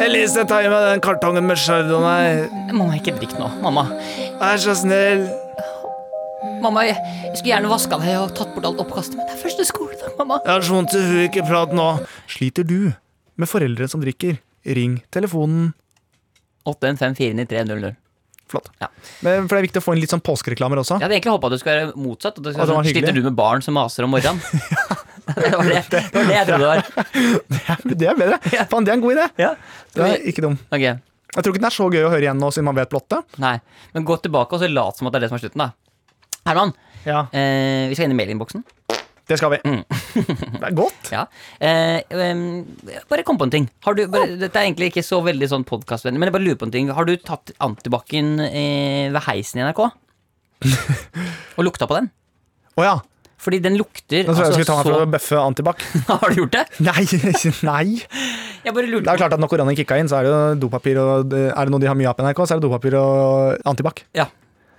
D: Elise, ta i meg den kartongen med chardonnay.
B: Mamma, ikke drikk nå. Mamma.
D: Vær så snill.
A: Mamma, jeg, jeg skulle gjerne vaska deg og tatt bort alt oppkastet, men det er første skoledag, mamma.
D: Jeg har så vondt i huet, ikke prat nå. Sliter du med foreldre som drikker? Ring telefonen.
B: 815493000.
D: Flott.
B: Ja.
D: Men, for det er viktig å få inn litt sånn påskereklamer også.
B: Jeg hadde egentlig håpa det skulle være motsatt. At det
D: Å, det
B: skulle,
D: var
B: være sånn,
D: hyggelig.
B: sliter du med barn som maser om morgenen? det, var det, det var det jeg trodde det var.
D: Det er bedre.
B: Ja.
D: Faen, det er en god idé. Det
B: Skal
D: er ikke dum.
B: vi, ok,
D: Jeg tror ikke den er så gøy å høre igjen nå, siden man vet plottet.
B: nei. Men gå tilbake og så lat som at det er det som er slutten, da. Herman,
D: Ja.
B: eh, vi skal inn i mailinnboksen.
D: Det skal vi. det er godt.
B: Ja. Eh, em, bare kom på en ting. Har du, bare, dette er egentlig ikke så veldig sånn podkastvennlig, men jeg bare lurer på en ting. Har du tatt antibac-en eh, ved heisen i NRK? Og lukta på den?
D: Å ja.
B: Fordi den lukter
D: Nå trodde
B: altså,
D: jeg jeg skulle ta meg for å bøffe antibac.
B: så Har du gjort det?
D: Nei, nei.
B: Jeg bare
D: Det
B: lurte
D: er klart at når koronaen kicka inn, så er det jo dopapir og Er det noe de har mye av på NRK, så er det dopapir og antibac.
B: Ja.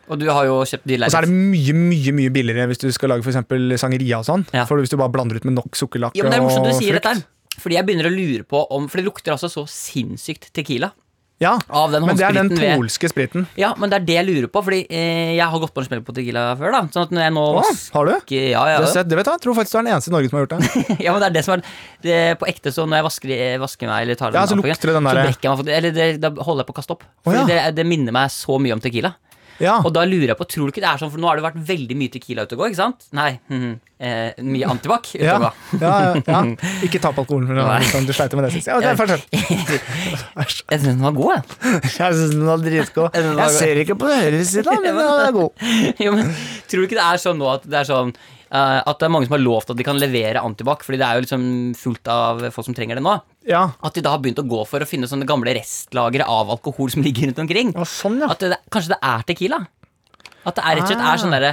B: Og du har jo kjøpt de
D: Og så er det mye, mye mye billigere hvis du skal lage for eksempel sangeria og sånn.
B: Ja.
D: For hvis du bare blander ut med nok sukkerlakk
B: Ja, men det er
D: og
B: morsomt du sier
D: frukt.
B: dette her. Fordi jeg begynner å lure på om For det lukter altså så sinnssykt tequila
D: Ja,
B: av den
D: men det er den
B: håndspriten ved
D: polske spriten.
B: Ja, men det er det jeg lurer på, fordi eh, jeg har gått på en smell på tequila før, da. Sånn at når jeg nå
D: Å, har du?
B: vasker Ja, ja, ja.
D: Det, er søtt. det vet jeg, jeg tror faktisk du er den eneste i Norge som har gjort det.
B: ja, men det er det som er det, På ekte, så når jeg vasker, eh, vasker meg eller tar
D: Ja,
B: den
D: så
B: opp igjen,
D: lukter det den
B: så
D: der-
B: brekker jeg meg for, Eller det, da holder jeg på å kaste opp. Fordi
D: ja.
B: det, det minner meg så mye om tequila.
D: Ja,
B: Og da lurer jeg på, tror du ikke det er sånn, for nå har det vært veldig mye tequila ute og gå, ikke sant? Nei, mhm, eh, mye antibac ute
D: ja,
B: og gå.
D: ja, ja, ja. Ikke ta på alkoholen, for
B: Nei.
D: sånn, du sleit med det sist. Ja, det er fortsatt. Æsj.
B: Jeg synes den var god, jeg.
D: Jeg syns den var dritgod.
B: den var
D: Jeg
B: god.
D: ser ikke på høyresida, men den er god.
B: jo, men tror du ikke det er sånn nå at det er sånn eh, at det er mange som har lovt at de kan levere antibac, fordi det er jo liksom fullt av folk som trenger det nå.
D: Ja.
B: At de da har begynt å gå for å finne sånne gamle restlagre av alkohol som ligger rundt omkring.
D: Ja, sånn, ja.
B: At det, kanskje det er tequila? At det er rett og slett er
D: Ah.
B: sånn derre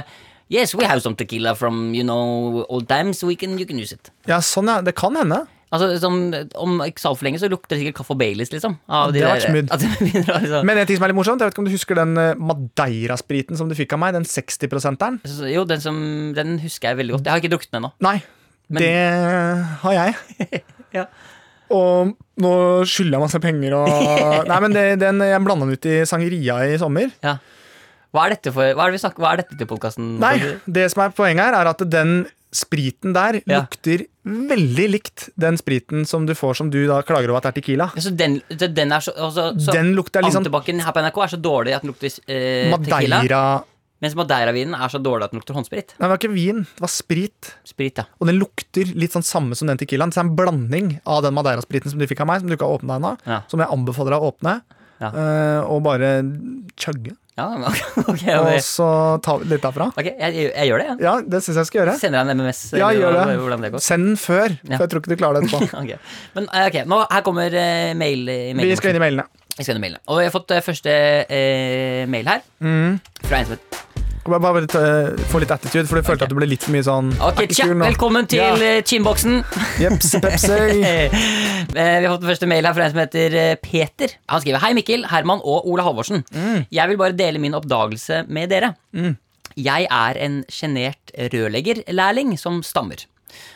B: Yes, we have some tequila from you know old times. We can, you can use it.
D: ja, sånn, ja. Det kan hende.
B: Altså, som, Om ikke så altfor lenge så lukter det sikkert kaffe og Baileys, liksom. Av
D: Ah, det har vært
B: der-
D: smooth.
B: At det begynner å liksom.
D: Men en ting som er litt morsomt, jeg vet ikke om du husker den eh, Madeira-spriten som du fikk av meg? Den 60-prosenteren?
B: Så- Jo, den, som, den husker jeg veldig godt. Jeg har ikke drukket den ennå.
D: Nei.
B: Men-
D: Det har jeg.
B: Ja.
D: Og nå skylder jeg masse penger og Nei, men det, den, jeg blanda den ut i sangeria i sommer.
B: Ja. Hva er dette, for, hva er det vi snakker, hva er dette til podkasten?
D: Nei, det som er poenget her, er at den spriten der
B: Ja.
D: lukter veldig likt den spriten som du får som du da klager over at er tequila.
B: Så den, så den er så, altså, så
D: Den lukter litt sånn
B: Antibac-en her på NRK er så dårlig at den lukter eh, tequila.
D: Madeira
B: Mens Madeira-vinen er så dårlig at den lukter håndsprit.
D: Nei, det var ikke vin, det var sprit.
B: Sprit, ja.
D: Og den lukter litt sånn samme som den tequilaen. Så det er en blanding av den Madeira-spriten som du fikk av meg, som du ikke har åpna ennå,
B: Ja.
D: som jeg anbefaler deg å åpne,
B: Ja.
D: eh, og bare chugge.
B: ja ok, ok,
D: Og
B: ok.
D: så ta litt derfra.
B: Ok, jeg, jeg, jeg gjør det, jeg.
D: Ja, det syns jeg skal gjøre.
B: Sender deg en MMS.
D: Ja,
B: eller
D: gjør
B: hva-
D: det.
B: Hvordan det går.
D: Send den før,
B: Ja.
D: for jeg tror ikke du klarer det etterpå.
B: Ok. Men eh, ok, nå, her kommer eh, mail. eh, mail
D: Vi skal inn i mailene. Mm.
B: Jeg skal inn i mailene. Og jeg har fått eh, første eh, mail her. Fra en som heter
D: Kan jeg bare ta- få litt attitude, for du følte at du ble litt for mye sånn
B: Ok,
D: "Er ikke
B: tja,
D: kul nå."
B: Velkommen til
D: Ja.
B: eh, Chinboksen.
D: Jeps, Pepsi.
B: Eh, Vi har fått den første mail her fra en som heter eh, Peter. Han skriver Hei, Mikkel, Herman og Ola Halvorsen.
D: Mm.
B: Jeg vil bare dele min oppdagelse med dere. Jeg er en sjenert rørleggerlærling som stammer.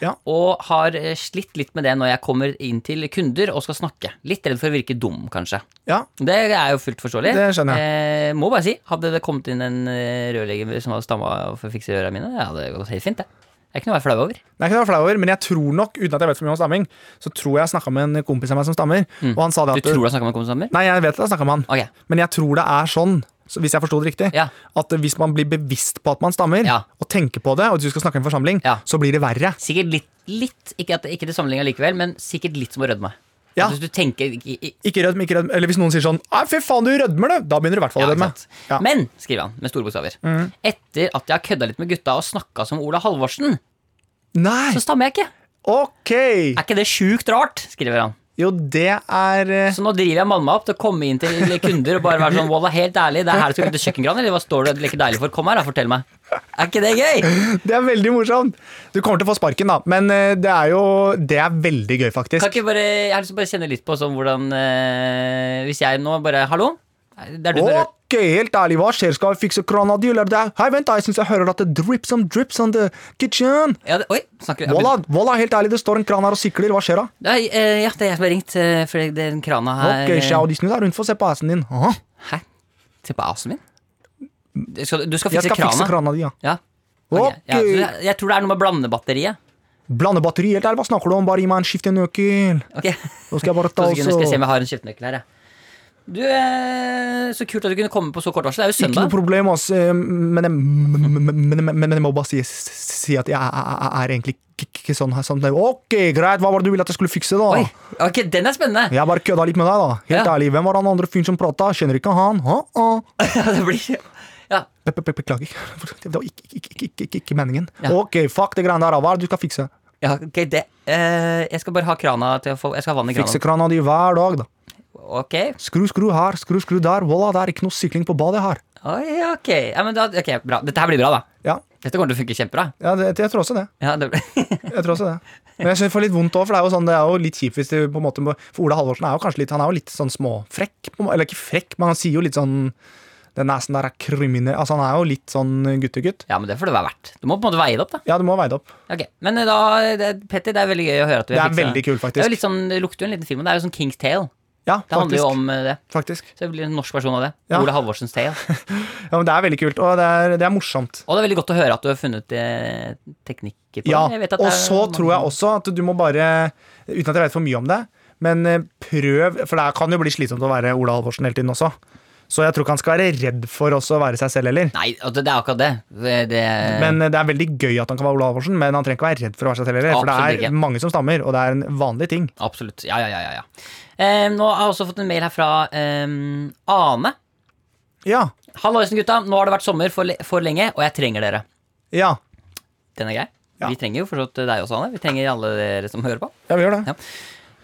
D: Ja.
B: Og har eh, slitt litt med det når jeg kommer inn til kunder og skal snakke. Litt redd for å virke dum, kanskje.
D: ja.
B: Det er jo fullt forståelig.
D: Det skjønner
B: jeg. Eh, må bare si, hadde det kommet inn en eh, rørlegger som hadde stamma for å fikse røra mine, ja, det hadde gått helt fint, det. Det er ikke noe å være flau over.
D: Det er ikke noe å være flau over, men jeg tror nok, uten at jeg vet for mye om stamming, så tror jeg jeg snakka med en kompis av meg som stammer, og han sa det
B: Mm. Du
D: at
B: tror du har snakka med kompisen min?
D: Nei, jeg vet at jeg snakka med han,
B: Ok.
D: men jeg tror det er sånn, så hvis jeg forsto det riktig,
B: Ja.
D: at hvis man blir bevisst på at man stammer,
B: Ja.
D: og tenker på det, og du skal snakke i en forsamling,
B: Ja.
D: så blir det verre.
B: Sikkert litt, litt ikke, at, ikke til sammenligning likevel, men sikkert litt som å rødme.
D: Ja.
B: Hvis du tenker i, i,
D: Ikke rødm, ikke rødm. Eller hvis noen sier sånn Nei, fy faen, du rødmer, du! Da begynner du i hvert fall
B: ja,
D: å
B: ikke
D: rødme.
B: sant?
D: Ja. Mm.
B: Men, skriver han med store bokstaver, etter at jeg har kødda litt med gutta og snakka som Ola Halvorsen,
D: Nei!
B: så stammer jeg ikke.
D: Ok!
B: Er ikke det sjukt rart? skriver han.
D: Jo, det er eh,
B: Så nå driver jeg mamma opp til å komme inn til kunder og bare være sånn Walla, helt ærlig, det er her du skal kutte kjøkkengran, eller hva står det og leker deilig for? Kom her, da, fortell meg. Er ikke det gøy?
D: Det er veldig morsomt. Du kommer til å få sparken, da, men eh, det er jo Det er veldig gøy,
B: Kan
D: faktisk.
B: ikke bare, jeg har lyst til å bare kjenne litt på sånn hvordan eh, Hvis jeg nå bare Hallo? Det er du som er rørt.
D: Ok, helt ærlig, hva skjer? Skal vi fikse krana di, eller det er Hei, vent, da, jeg syns jeg hører at det drips and drips on the kitchen.
B: Ja, det, oi, snakker
D: Voila, voila, helt ærlig, det står en kran her og sikler. Hva skjer da?
B: Nei, eh, ja, det er jeg som har ringt, eh, fordi det er en krana her
D: Ok,
B: eh,
D: sjau, de snur deg rundt for å se på assen din. Aha.
B: Hæ? Se på asen min? Du skal, du skal
D: Jeg
B: fikse
D: skal
B: krana?
D: fikse krana di, ja.
B: Ja. Ok, ja.
D: Ok.
B: Så jeg, jeg tror det er noe med blandebatteriet.
D: Blande batteri, helt ærlig, hva snakker du om? Bare gi meg en skiftenøkkel.
B: Ok,
D: Nå skal Altså, jeg
B: to
D: bare ta
B: sekunder
D: og
B: Altså, skal jeg se
D: så-
B: om jeg har en skiftenøkkel her, jeg. Du, eh, så kult at du kunne komme på så kort varsel. Det er jo
D: Ikke noe
B: søndag.
D: problem, ass. eh, Men jeg, men, men, men jeg må bare si, si at jeg er, er egentlig ikke- ikke sånn her. Sånn. Ok, greit, hva var det du ville at jeg skulle fikse, da?
B: Oi, ok, den er spennende.
D: Jeg bare kødda litt med deg, da. Helt
B: Ja.
D: ærlig, Hvem var han andre fyren som prata? Kjenner ikke han. Ha, ha.
B: Ja, det blir... Ja,
D: Be- be- be- Beklager. Det var ikke, ikke, ikke, ikke, ikke, ikke meningen.
B: Ja.
D: Ok, fuck det greiene der. da. Hva er det du skal fikse?
B: ja ok, det... Eh, jeg skal bare ha krana til å få... Jeg skal ha vann i
D: Fikse
B: krana.
D: krana di hver dag, da.
B: Ok,
D: Skru, skru her, skru, skru der. Voila, det er ikke noe sykling på badet her.
B: oi, ok. Ja, men da... Ok, bra. Dette her blir bra, da.
D: Ja,
B: Dette kommer til å funke kjempebra.
D: ja det, jeg tror også det.
B: Ja, det blir...
D: Jeg tror også det. Men jeg synes det får litt vondt òg, for det er jo sånn, det er jo litt kjipt hvis du på en måte må For Ola Halvorsen er jo kanskje litt Han er jo litt sånn småfrekk. på en må- Eller ikke frekk, men han sier jo litt sånn Den nesen der er kriminell Altså, han er jo litt sånn guttegutt.
B: Ja, men det får det være verdt. Du må på en måte veie det opp, da.
D: Ja, du må veie det opp.
B: Ok, Men eh, da, det, Petter, det er veldig gøy å høre at du
D: Det er
B: fiksa-
D: veldig kult, faktisk.
B: Det, er jo litt sånn, det lukter jo en liten film, og det er jo sånn King's Tale.
D: Ja,
B: Det handler jo
D: faktisk.
B: om eh, det.
D: faktisk.
B: Så det blir en norsk versjon av det.
D: Ja.
B: Ola Halvorsens Tale.
D: Ja, men Det er veldig kult, og det er, det er morsomt.
B: Og det er veldig godt å høre at du har funnet eh, teknikker på
D: Ja,
B: det. Jeg vet at
D: og
B: det er
D: så
B: mange-
D: tror jeg også at du må bare Uten at jeg vet for mye om det, men eh, prøv For det kan jo bli slitsomt å være Ola Halvorsen hele tiden også. Så jeg tror ikke han skal være redd for også å være seg selv heller.
B: Nei, altså, det er akkurat det. det, det
D: Men eh, det er veldig gøy at han kan være Ola Halvorsen, men han trenger ikke være redd for å være seg selv heller. For
B: Absolutt
D: det
B: ikke.
D: er mange som stammer, og det er en vanlig ting.
B: Absolutt. Ja, ja, ja. ja, ja. Eh, nå har jeg også fått en mail her fra eh, Ane.
D: Ja.
B: Halloisen, gutta. Nå har det vært sommer for, le- for lenge, og jeg trenger dere.
D: Ja.
B: Den er grei.
D: Ja.
B: Vi trenger jo forstått deg også, Ane. Vi trenger alle dere som hører på.
D: ja vi gjør det.
B: Ja.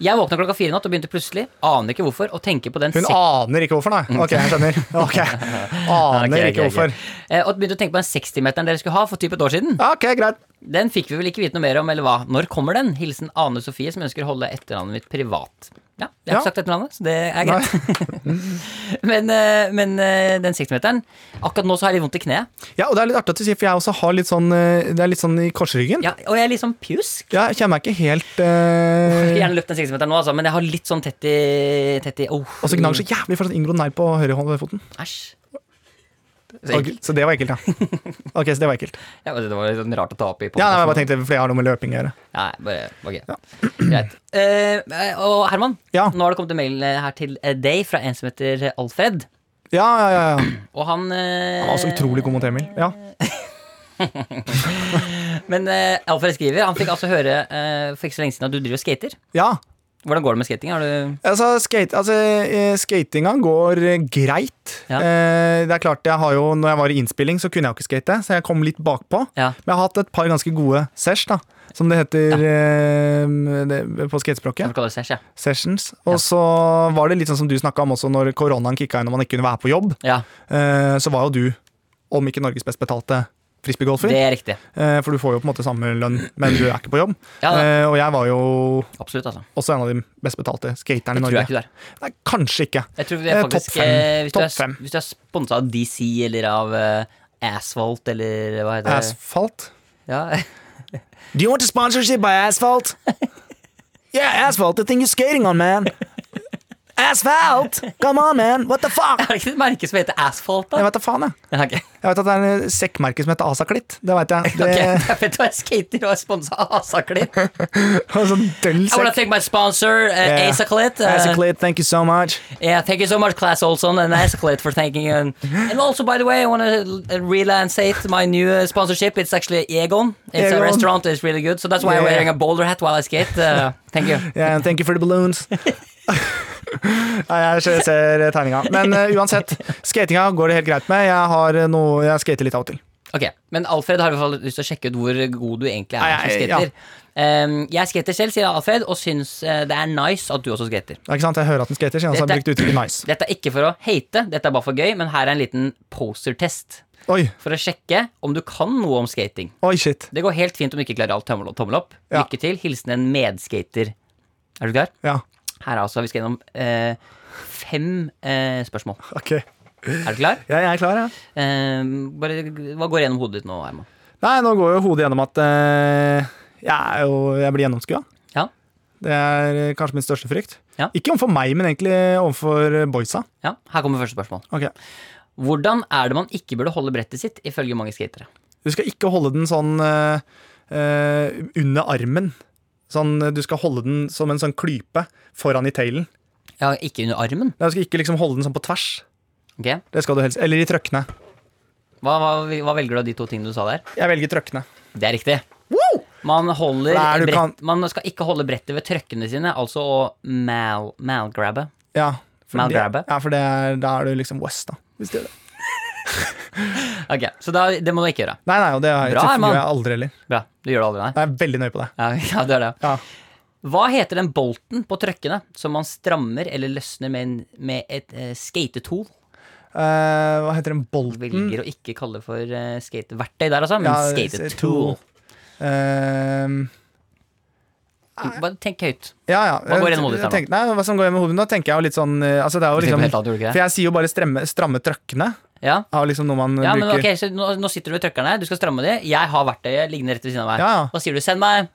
B: Jeg våkna klokka fire i natt og begynte plutselig, aner ikke hvorfor, å tenke på den
D: Hun
B: sek-
D: aner ikke hvorfor, nei. Ok, jeg skjønner. Ok, Aner
B: Ok, ok,
D: ikke
B: Mm. ok.
D: hvorfor.
B: Eh, Og begynte å tenke på den 60-meteren dere skulle ha for typ et år siden.
D: Ok, greit.
B: Den fikk vi vel ikke vite noe mer om, eller hva? Når kommer den? Hilsen Ane Sofie, som ønsker å holde etternavnet mitt privat. Ja, jeg har
D: Ja.
B: ikke sagt etternavnet, så det er greit. men, eh, men eh, den 60-meteren Akkurat nå så har jeg litt vondt i kneet.
D: Ja, og det er litt artig at du sier, for jeg også har litt sånn eh, Det er litt sånn i korsryggen. Ja.
B: Ja, og jeg er litt sånn pjusk.
D: Jeg kjenner meg ikke helt eh,
B: Jeg skulle gjerne løpt den 60-meteren nå, altså, men jeg har litt sånn tett i, tett i oh,
D: Og så gnager så jævlig for sånn inngrodd negl på høyrehåndfoten.
B: Æsj. Så
D: Så,
B: ekkelt.
D: så det var ekkelt, ja. Ok, så det var ekkelt.
B: Ja, det var litt sånn rart å ta opp i.
D: Ja, nei, jeg bare tenkte, for jeg har noe med løping å gjøre.
B: Nei, bare ok. Greit. Eh, og Herman,
D: Ja.
B: nå har det kommet en mail eh, her til eh, deg fra en som heter eh, Alfred.
D: Ja, ja, ja. ja.
B: Og han eh,
D: Han var så utrolig god mot Emil. Ja.
B: Men eh, Alfred skriver Han fikk altså høre eh, for ikke så lenge siden at du driver og skater.
D: ja.
B: Hvordan går det med skating? Har du
D: Altså, skate, altså, eh, skatinga går eh, greit.
B: Ja.
D: Eh, det er klart, jeg har jo, når jeg var i innspilling, så kunne jeg jo ikke skate, så jeg kom litt bakpå.
B: Ja.
D: Men jeg har hatt et par ganske gode sesh, da. Som det heter eh, det, på
B: Hva
D: skatespråket.
B: kaller det seg? Ja.
D: Sessions. Og så var det litt sånn som du snakka om også, når koronaen kicka inn og man ikke kunne være på jobb.
B: ja.
D: Eh, så var jo du om ikke Norges best betalte frisbeegolfer.
B: Det er riktig.
D: Eh, For du får jo på en måte samme lønn, men du er ikke på jobb.
B: Ja, da.
D: Eh, Og jeg var jo
B: Absolutt, altså.
D: også en av de best betalte skaterne i
B: Tror jeg
D: Norge.
B: ikke du er.
D: Nei, kanskje ikke.
B: Jeg tror vi
D: Eh,
B: er
D: topp
B: faktisk
D: fem.
B: eh, Hvis du
D: Topp
B: er,
D: fem.
B: hvis du er sponsa av DC eller av eh, Asphalt eller eh, hva heter det?
D: Asfalt.
B: Ja.
D: Do you want a sponsorship by asphalt? Yeah, asphalt, the thing you're skating on, man. Asphalt! Come on, man. What the fuck?
B: Er det ikke et merke som heter Asphalt,
D: Jeg
B: da?
D: vet da faen, jeg.
B: Ja, ok.
D: Jeg vet at det er en sekkmerke som heter Asaklitt. Det vet jeg. Det
B: Ok, jeg vet hva jeg skater og er sponsa av Asaklitt. I
D: var en sånn døll
B: wanna
D: sekk.
B: thank my sponsor, uh,
D: Yeah.
B: Asaklit. Uh,
D: Asaklitt, thank you so much.
B: Yeah, thank you so much, Class Olson and Asaklit for thanking. And, and also, by the way, I want to relance my new uh, sponsorship. It's actually Egon. It's a
D: Egon.
B: restaurant. It's really good. So that's why I'm
D: Yeah.
B: wearing a bowler hat while I skate. Uh, thank you.
D: Yeah, and thank you for the balloons. Nei, jeg ser tegninga. Men eh, uansett, skatinga går det helt greit med. Jeg, har eh, noe, jeg skater litt av og til.
B: Ok, Men Alfred har i hvert fall lyst til å sjekke ut hvor god du egentlig er
D: Nei,
B: som
D: jeg- ja.
B: skater. Um, jeg skater selv, sier Alfred, og syns eh, det er nice at du også skater.
D: Det er Ikke sant? Jeg hører at den skater, siden han har
B: Dette-
D: brukt uttrykket nice.
B: Dette er ikke for å hate, dette er bare for gøy, men her er en liten postertest.
D: Oi,
B: For å sjekke om du kan noe om skating.
D: oi, shit.
B: Det går helt fint om du ikke klarer alt. Tommel opp. Tommel opp.
D: Ja.
B: Lykke til. Hilsen en medskater. Er du klar?
D: Ja,
B: Her er altså, Vi skal gjennom eh, fem eh, spørsmål.
D: ok.
B: Er du klar?
D: Ja, jeg er klar, jeg. Ja.
B: Eh, bare, hva går gjennom hodet ditt nå, Herman?
D: Nei, nå går jo hodet gjennom at eh, jeg, er jo, jeg blir gjennomskua.
B: Ja.
D: Det er eh, kanskje min største frykt.
B: Ja.
D: Ikke overfor meg, men egentlig overfor eh, boysa.
B: Ja, Her kommer første spørsmål.
D: Ok.
B: Hvordan er det man ikke burde holde brettet sitt, ifølge mange skatere?
D: Du skal ikke holde den sånn eh, eh, under armen. Sånn, eh, du skal holde den som en sånn klype foran i tailen.
B: Ja, Ikke under armen.
D: Nei, Du skal ikke liksom holde den sånn på tvers.
B: Ok,
D: Det skal du helst. Eller i trøkkene.
B: Hva, hva, hva velger du av de to tingene du sa der?
D: Jeg velger trøkkene.
B: Det er riktig. Man, holder
D: Nei, du
B: brett,
D: kan-
B: man skal ikke holde brettet ved trøkkene sine, altså å mal, malgrabbe.
D: Ja, for, det,
B: Malgrabbe.
D: ja, for det er, da er du liksom West, da. Hvis det er det.
B: Ok, Så da, det må du ikke gjøre.
D: Nei, nei, og det har jeg-
B: Bra,
D: det
B: Herman.
D: gjør jeg aldri heller.
B: Bra. Du gjør det aldri, nei?
D: Jeg er veldig nøye på det.
B: Ja, ja, du er det.
D: Ja.
B: Hva heter den bolten på trøkkene som man strammer eller løsner med, en, med et uh, skatetool?
D: Eh, hva heter den bolten?
B: Velger å ikke kalle det for eh, skateverktøy der, altså, men
D: Mm. Ja, eh,
B: skatetool.
D: Ehm,
B: Bare tenk høyt.
D: ja, ja.
B: Hva går gjennom hodet ditt her nå?
D: Jeg tenker- Nei, hva som går gjennom hodet nå, tenker jeg jo litt sånn eh, altså det er jo
B: Du tenker på helt
D: liksom,
B: annet, gjorde du
D: For
B: ikke det?
D: jeg sier jo bare stremme, stramme trøkkene.
B: Ja,
D: Er jo liksom noe man
B: ja men
D: bruker.
B: ok, så nå, nå sitter du ved trøkkerne, du skal stramme de. Jeg har verktøyet liggende rett ved siden av meg.
D: Ja, ja.
B: Hva sier du? Send meg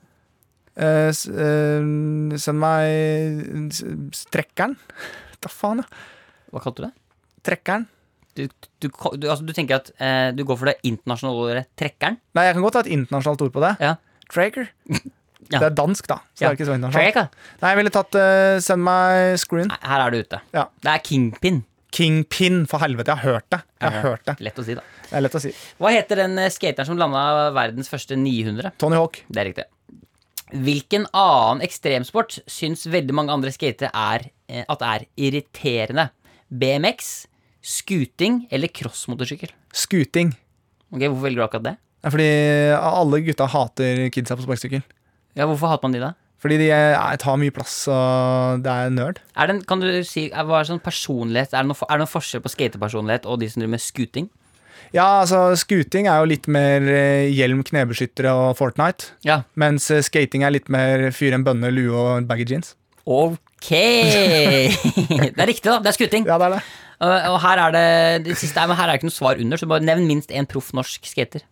D: Eh, s- eh, send meg s- strekkeren. Da faen, ja.
B: Hva kalte du det?
D: Trekkeren.
B: Du, du, ko- du, altså, du tenker at eh, du går for det internasjonale ordet trekkeren?
D: Nei, jeg kan godt ha et internasjonalt ord på det.
B: Ja.
D: Tracker.
B: Ja.
D: Det er dansk, da. Så
B: Ja.
D: det er ikke så internasjonalt.
B: Trekker.
D: Nei, jeg ville tatt eh, Send meg screen.
B: Nei, her er du ute.
D: Ja.
B: Det er kingpin.
D: Kingpin, for helvete. Jeg har hørt det. Jeg har hørt det.
B: Lett å si, da.
D: Det er lett å si.
B: Hva heter den eh, skateren som landa verdens første 900?
D: Tony Hawk.
B: Det er riktig. Hvilken annen ekstremsport syns veldig mange andre skatere er, eh, at er irriterende? BMX, scooting eller crossmotorsykkel?
D: Scooting.
B: Ok, Hvorfor velger du akkurat det?
D: Ja, Fordi alle gutta hater kidsa på sparkesykkel.
B: Ja, Hvorfor hater man de, da?
D: Fordi de eh, tar mye plass, og det er nerd.
B: Er det en, kan du si, er, hva er sånn personlighet? Er det, noe, for- er det noen forskjell på skatepersonlighet og de som driver med scooting?
D: Ja, altså, skuting er jo litt mer eh, hjelm, knebeskyttere og Fortnite.
B: Ja.
D: Mens eh, skating er litt mer fyr en bønne, lue og baggy jeans.
B: Ok! det er riktig, da. Det er scooting.
D: Ja, det er det.
B: Og, og her er det, det siste, er- men her er det ikke noe svar under, så bare nevn minst én proff norsk skater.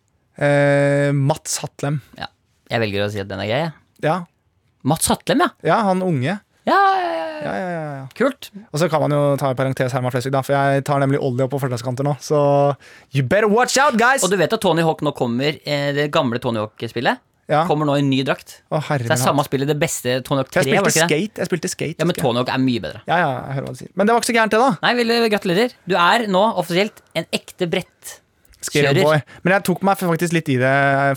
D: Eh, Mats Hatlem.
B: Ja. Jeg velger å si at den er grei, jeg.
D: Ja.
B: Mats Hatlem, ja.
D: ja, han unge.
B: Ja, ja, ja, ja.
D: Ja, ja, ja, ja.
B: Kult.
D: Og så kan man jo ta en parentes Herman Flesvig, da, for jeg tar nemlig olje opp på fortauskanter nå. Så you better watch out, guys!
B: Og du vet at Tony Hawk nå kommer eh, Det gamle Tony Hawk-spillet
D: ja.
B: kommer nå i en ny drakt.
D: Å,
B: Så det
D: herre min
B: er
D: hatt.
B: samme spillet, det beste Tony Hawk 3.
D: jeg
B: var det ikke det?
D: spilte skate. Jeg spilte skate.
B: Ja, Men
D: husker jeg.
B: Tony Hawk er mye bedre.
D: Ja, ja, jeg hører hva du sier. Men det var ikke så gærent, det, da.
B: Nei, vel, Gratulerer. Du er nå offisielt en ekte brett. Kjører.
D: Skateboy. Men jeg tok meg faktisk litt i det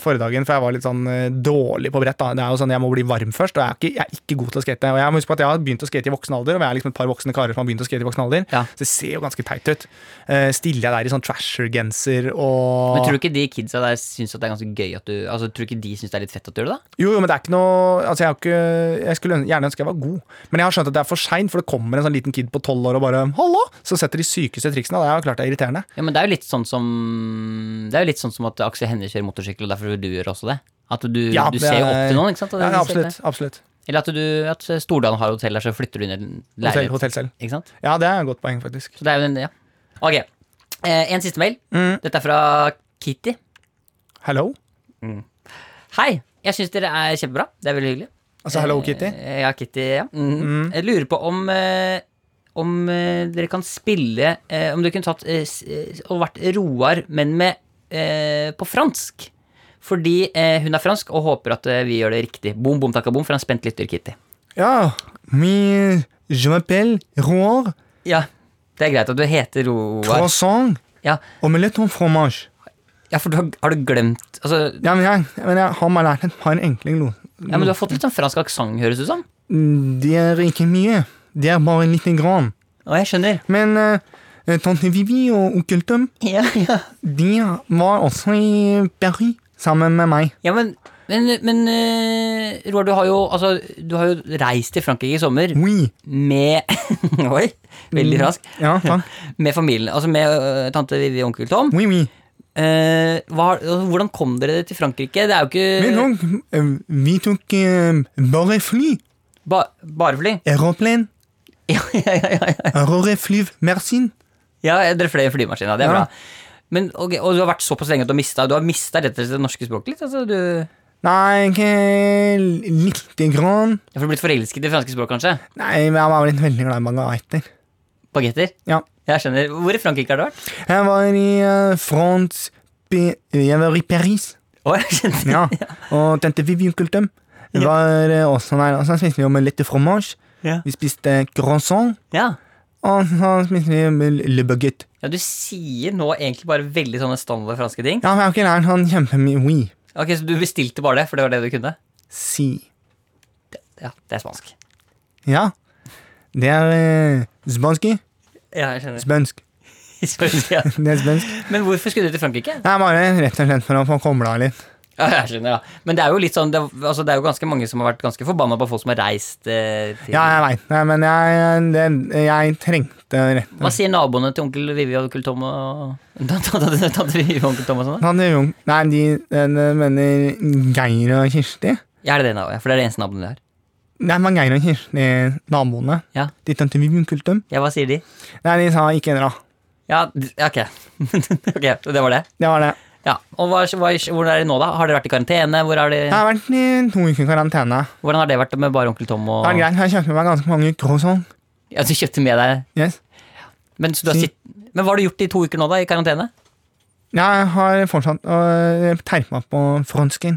D: forrige dagen, for jeg var litt sånn eh, dårlig på brett. da. Det er jo sånn, Jeg må bli varm først, og jeg er ikke, jeg er ikke god til å skate. Og Jeg må huske på at jeg har begynt å skate i voksen alder, og vi er liksom et par voksne karer som har begynt å skate i voksen alder.
B: Ja.
D: Så det ser jo ganske teit ut. Eh, stiller jeg der i sånn trasher-genser og
B: Men tror du ikke de kidsa der syns at det er ganske gøy at du Altså, tror du ikke de syns det er litt fett at du gjør det, da?
D: Jo, jo, men det er ikke noe Altså, jeg, har ikke, jeg skulle ønske- gjerne ønske jeg var god, men jeg har skjønt at det er for seint, for det kommer en sånn liten kid på tolv år og bare 'hallo', så setter de sykeste triksene, og det er jo klart det er irriterende.
B: Ja, men det er jo litt sånn som det er jo litt sånn som at Aksel Hennie kjører motorsykkel, og derfor du gjør også det. At du,
D: Ja,
B: du
D: det
B: ser jo
D: er-
B: opp til noen, ikke sant? Og det
D: Ja,
B: er litt
D: absolutt.
B: det.
D: absolutt.
B: Eller at, du, at Stordalen har hotell der, så flytter du inn i en
D: Hotell,
B: leilighet.
D: hotell selv.
B: Ikke sant?
D: Ja, det er et godt poeng, faktisk.
B: Så det er jo en, ja. Ok, eh, en siste mail.
D: Mm.
B: Dette er fra Kitty.
D: Hello?
B: Hei, jeg syns dere er kjempebra. Det er veldig hyggelig.
D: Altså Hello Kitty? Mm.
B: Eh, Ja, Kitty, ja. Mhm. Jeg lurer på om eh, om eh, dere kan spille eh, Om dere kunne tatt eh, s- eh, og vært Roar, men med eh, på fransk. Fordi eh, hun er fransk og håper at eh, vi gjør det riktig. Bom, bom, takka, bom, for en spent lytter, Kitty.
D: Ja. Mi, je m'appelle Roar
B: Ja, Det er greit at du heter Roar.
D: Croissant
B: Ja,
D: Omelette en fromage.
B: ja for du har, har du glemt Altså,
D: Ja, men jeg, men jeg har meg lært et par enkle ord.
B: ja, men du har fått litt sånn fransk aksent, høres det ut som.
D: Det er ikke mye. Det er bare lite grann.
B: Å, jeg skjønner.
D: Men eh, tante Vivi og onkel Tom,
B: Ja, ja.
D: de var også i Paris sammen med meg.
B: Ja, men, men, men eh, Roar, du har, jo, altså, du har jo reist til Frankrike i sommer
D: Oui.
B: med Oi, veldig rask.
D: Ja, takk.
B: Med familien, altså med eh, tante Vivi og onkel Tom.
D: Oui, oui.
B: Eh, hva, altså, hvordan kom dere til Frankrike? Det er jo
D: Men
B: ikke
D: og, eh, vi tok eh, bare fly.
B: ba, bare fly.
D: Aeroplan.
B: Ja, ja, ja, ja, ja.
D: Aeroreflyv Mersin.
B: ja, dere fløy i flymaskina. Det er
D: Ja.
B: bra. Men, ok, og du har vært såpass lenge at du har mista Du har mistet rett og slett det norske språket litt? Altså, du har
D: Nei, ikke lite grann.
B: blitt forelsket i det franske språket, kanskje?
D: Nei, men jeg var litt veldig glad i bagetter.
B: Bagetter?
D: Ja.
B: Jeg skjønner. Hvor i Frankrike har du vært?
D: Jeg var i eh, France Pe- Jeg var i Paris.
B: Å, jeg skjønner.
D: Ja. Og tente Vivi Kultum var eh, også der. Og så spiste vi omelette fromage.
B: Ja.
D: Vi spiste croissant.
B: ja.
D: Og så spiste vi med le baguette.
B: Ja, du sier nå egentlig bare veldig sånne standard franske ting.
D: Ja, men jeg har ikke lært sånn kjempemye oui.
B: Ok, Så du bestilte bare det, for det var det du kunne?
D: Si.
B: Ja, det er spansk.
D: Ja. Det er eh, spansk.
B: Ja, jeg skjønner.
D: Spansk.
B: Spansk, ja.
D: Det er spansk.
B: Men hvorfor skulle du til Frankrike?
D: Det er bare rett og slett for å få kobla av litt.
B: Ja, jeg skjønner, ja. Men det er jo litt sånn, det, er- altså, det er jo ganske mange som har vært ganske forbanna på folk som har reist eh, til
D: Ja, jeg veit det, men jeg, eh, det, jeg trengte rett
B: Hva sier naboene til onkel Vivi og onkel Tom og tante tante- tante Vivi og onkel Tom og sånn? da?
D: Han er ung. Nei, de, de, de mener Geir og Kirsti.
B: Ja, er det det naboet? For det er det eneste naboen de har.
D: Nei, men Geir og Kirsti, naboene.
B: Ja.
D: De tente vi bunkultum.
B: ja, hva sier de?
D: Nei, de sa ikke dra.
B: Ja, d- ja, ok. ok, så Det var det.
D: Det var det.
B: Ja, og hva, hva, Hvordan er det nå, da? Har dere vært i karantene? Hvor er det,
D: Jeg har vært i to uker i karantene.
B: hvordan har det vært med bare onkel Tom og
D: Det var greit, jeg kjøpte meg ganske mange croissant.
B: Ja, du kjøpte med deg
D: Yes.
B: Men, så du har
D: Si.
B: sitt... Men hva har du gjort i to uker nå, da? I karantene?
D: Jeg har fortsatt å eh, terpe meg på fransken.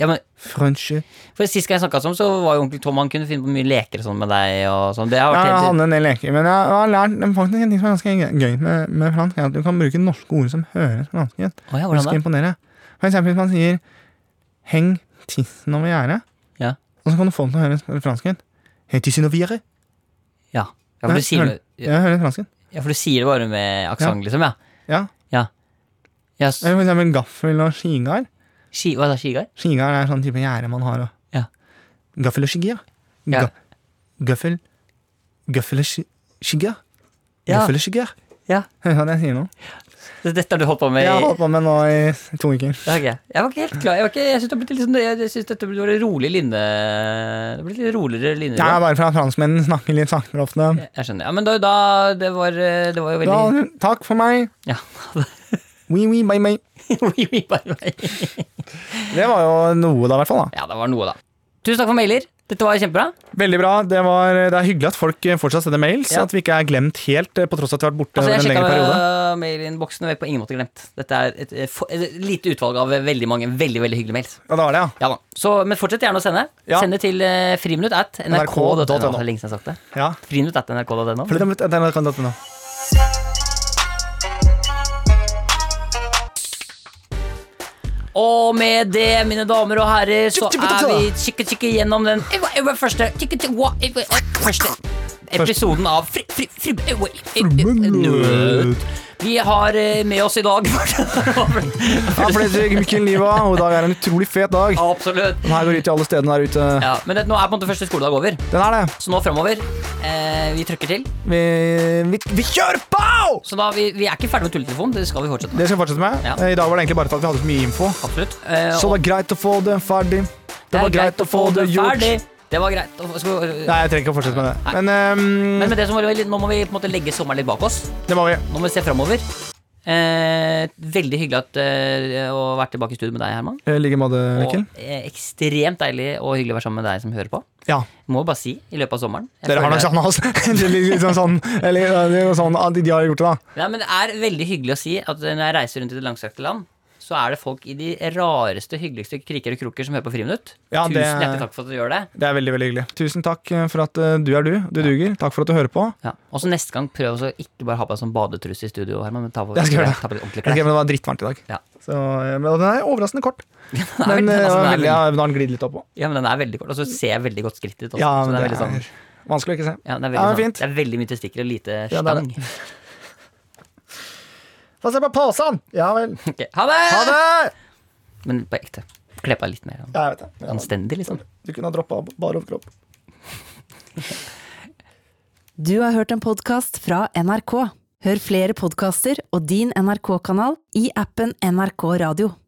B: Ja, men
D: Franske.
B: For Sist gang jeg snakka sånn, så var jo onkel Tom Han kunne finne på mye leker og sånn med deg. og sånn Det har
D: Jeg
B: vært helt...
D: hadde en del leker, men jeg har lært faktisk en ting som er ganske gøy med, med fransk. er At du kan bruke norske ord som høres på
B: Å ja,
D: fransken. Det
B: hvordan
D: skal
B: da?
D: imponere. For eksempel hvis man sier 'heng tissen over gjerdet',
B: Ja.
D: og så kan du få den til å høre fransken. Heng tissen over gjerdet.
B: Ja. ja, for
D: Nei,
B: du sier,
D: hører- Jeg hører fransken.
B: ja, for du sier det bare med aksent, liksom? Ja.
D: Ja.
B: ja s-
D: Eller for eksempel gaffel og skigard.
B: ski, hva er det, skigard?
D: Skigard er sånn type gjerde man har. Og.
B: Ja.
D: Gaffel og skigard.
B: Ja.
D: Ga- Gaffel Gaffel og ski- skigard.
B: Ja.
D: Gaffel og skigard.
B: Ja.
D: Hører du hva jeg sier nå?
B: Så dette har du holdt på med
D: Jeg
B: i
D: har holdt på med nå i to uker.
B: Ja, ok. Jeg var ikke helt klar. Jeg, var ikke, jeg syns det har blitt litt sånn Jeg synes dette ble en rolig linje Det ble litt roligere linje.
D: Jeg er bare fra franskmennene, snakker litt saktere ofte.
B: Jeg skjønner. Ja, men da, da det, var, eh, det var jo veldig
D: Da, takk for meg.
B: Ja.
D: Oui, oui, bye, bye.
B: Oui, oui, bye, bye.
D: Det var jo noe, da, i hvert fall. da.
B: Ja, det var noe, da. Tusen takk for mailer. Dette var kjempebra.
D: Veldig bra. Det, var, det er hyggelig at folk eh, fortsatt sender mails.
B: Ja.
D: At vi ikke er glemt helt, eh, på tross av at vi har vært borte
B: Altså, jeg
D: over en lengre periode.
B: sjekka mailinnboksen og er på ingen måte glemt. Dette er et, eh, for- et lite utvalg av veldig mange veldig veldig hyggelige mails.
D: Ja, det var det, ja.
B: Ja da. Så, men fortsett gjerne å sende.
D: Ja.
B: Send det til eh, friminutt at nrk.no.
D: NRK.no.
B: Altså, lenge siden jeg har sagt det.
D: ja.
B: Friminutt at nrk.no.
D: For det- det- det- det- det- det- det-
B: Og med det, mine damer og herrer, så
D: Tjukk, tjukk, tjukk,
B: er vi kikke-kikke gjennom den ever, ever første kikke, kikke, wa- ever, ever første episoden av Fri... fri, fri eh, wait, eh, eh, Vi har eh, med oss i dag
D: Ja, for det er Mikkel Niva, og i dag er en utrolig fet dag.
B: Absolutt.
D: Den her går ut til alle stedene der ute.
B: Ja, men det, nå er på en måte første skoledag over,
D: Den er det.
B: så nå framover eh, Vi trykker til.
D: Vi, vi, vi kjører på!
B: Så da, vi, vi er ikke ferdig med tulletelefonen. Det skal vi fortsette med.
D: Det skal vi fortsette med.
B: Ja.
D: I dag var det egentlig bare for at vi hadde så mye info.
B: Absolutt. Eh,
D: Så
B: og-
D: det var greit å få det ferdig. Det var greit å få det gjort.
B: Ferdig. Det var greit. å få- Skal, vi-
D: Nei, jeg trenger ikke å fortsette med det. Men
B: Men
D: ehm,
B: med det så må vi, nå må vi på en måte legge sommeren litt bak oss.
D: det må vi.
B: Nå må vi se framover. Eh, veldig hyggelig at, eh, å være tilbake i studio med deg, Herman.
D: I like måte, Mikkel.
B: Og eh, ekstremt deilig og hyggelig å være sammen med deg som hører på.
D: Ja.
B: Må jo bare si, i løpet av sommeren jeg
D: Dere har
B: føler-
D: nok savna oss. Det er litt sånn, eller, ja, det er jo sånn at de har gjort det, da.
B: Nei, men Det er veldig hyggelig å si at når jeg reiser rundt i det langstrakte land, så er det folk i de rareste, hyggeligste kriker og kroker som hører på Friminutt.
D: Ja,
B: Tusen
D: det-
B: hjertelig takk for at du gjør det.
D: Det er veldig veldig hyggelig. Tusen takk eh, for at eh, du er du. Du duger. Takk for at du hører på.
B: Ja. Og så neste gang prøv også ikke bare ha på deg sånn badetruse i studio, Herman, men ta på,
D: Jeg skal gjøre det.
B: ta på litt ordentlige
D: Ok,
B: klær.
D: men det var drittvarmt i dag.
B: Ja.
D: Så, eh, men den er overraskende kort. Men
B: men
D: eh,
B: altså, den er
D: veldig, ja, nå har den glidd litt oppå.
B: Ja, men den er veldig kort, og så ser jeg veldig godt skrittet ditt også.
D: Ja,
B: så det er
D: men det
B: veldig sånn
D: er vanskelig å ikke se.
B: ja, det er, veldig
D: Ja, men
B: sånn,
D: fint.
B: det er veldig mye testikker og lite
D: Ja, det er
B: stang.
D: det. Få se på posen! Ja vel.
B: Ok, ha, det!
D: Ha det!
B: Men på ekte. Kle på deg litt mer sånn
D: Ja, jeg vet det. Ja, sånn.
B: anstendig, liksom.
D: du kunne ha droppa bare overkropp.
C: Du har hørt en podkast fra NRK. Hør flere podkaster og din NRK-kanal i appen NRK Radio.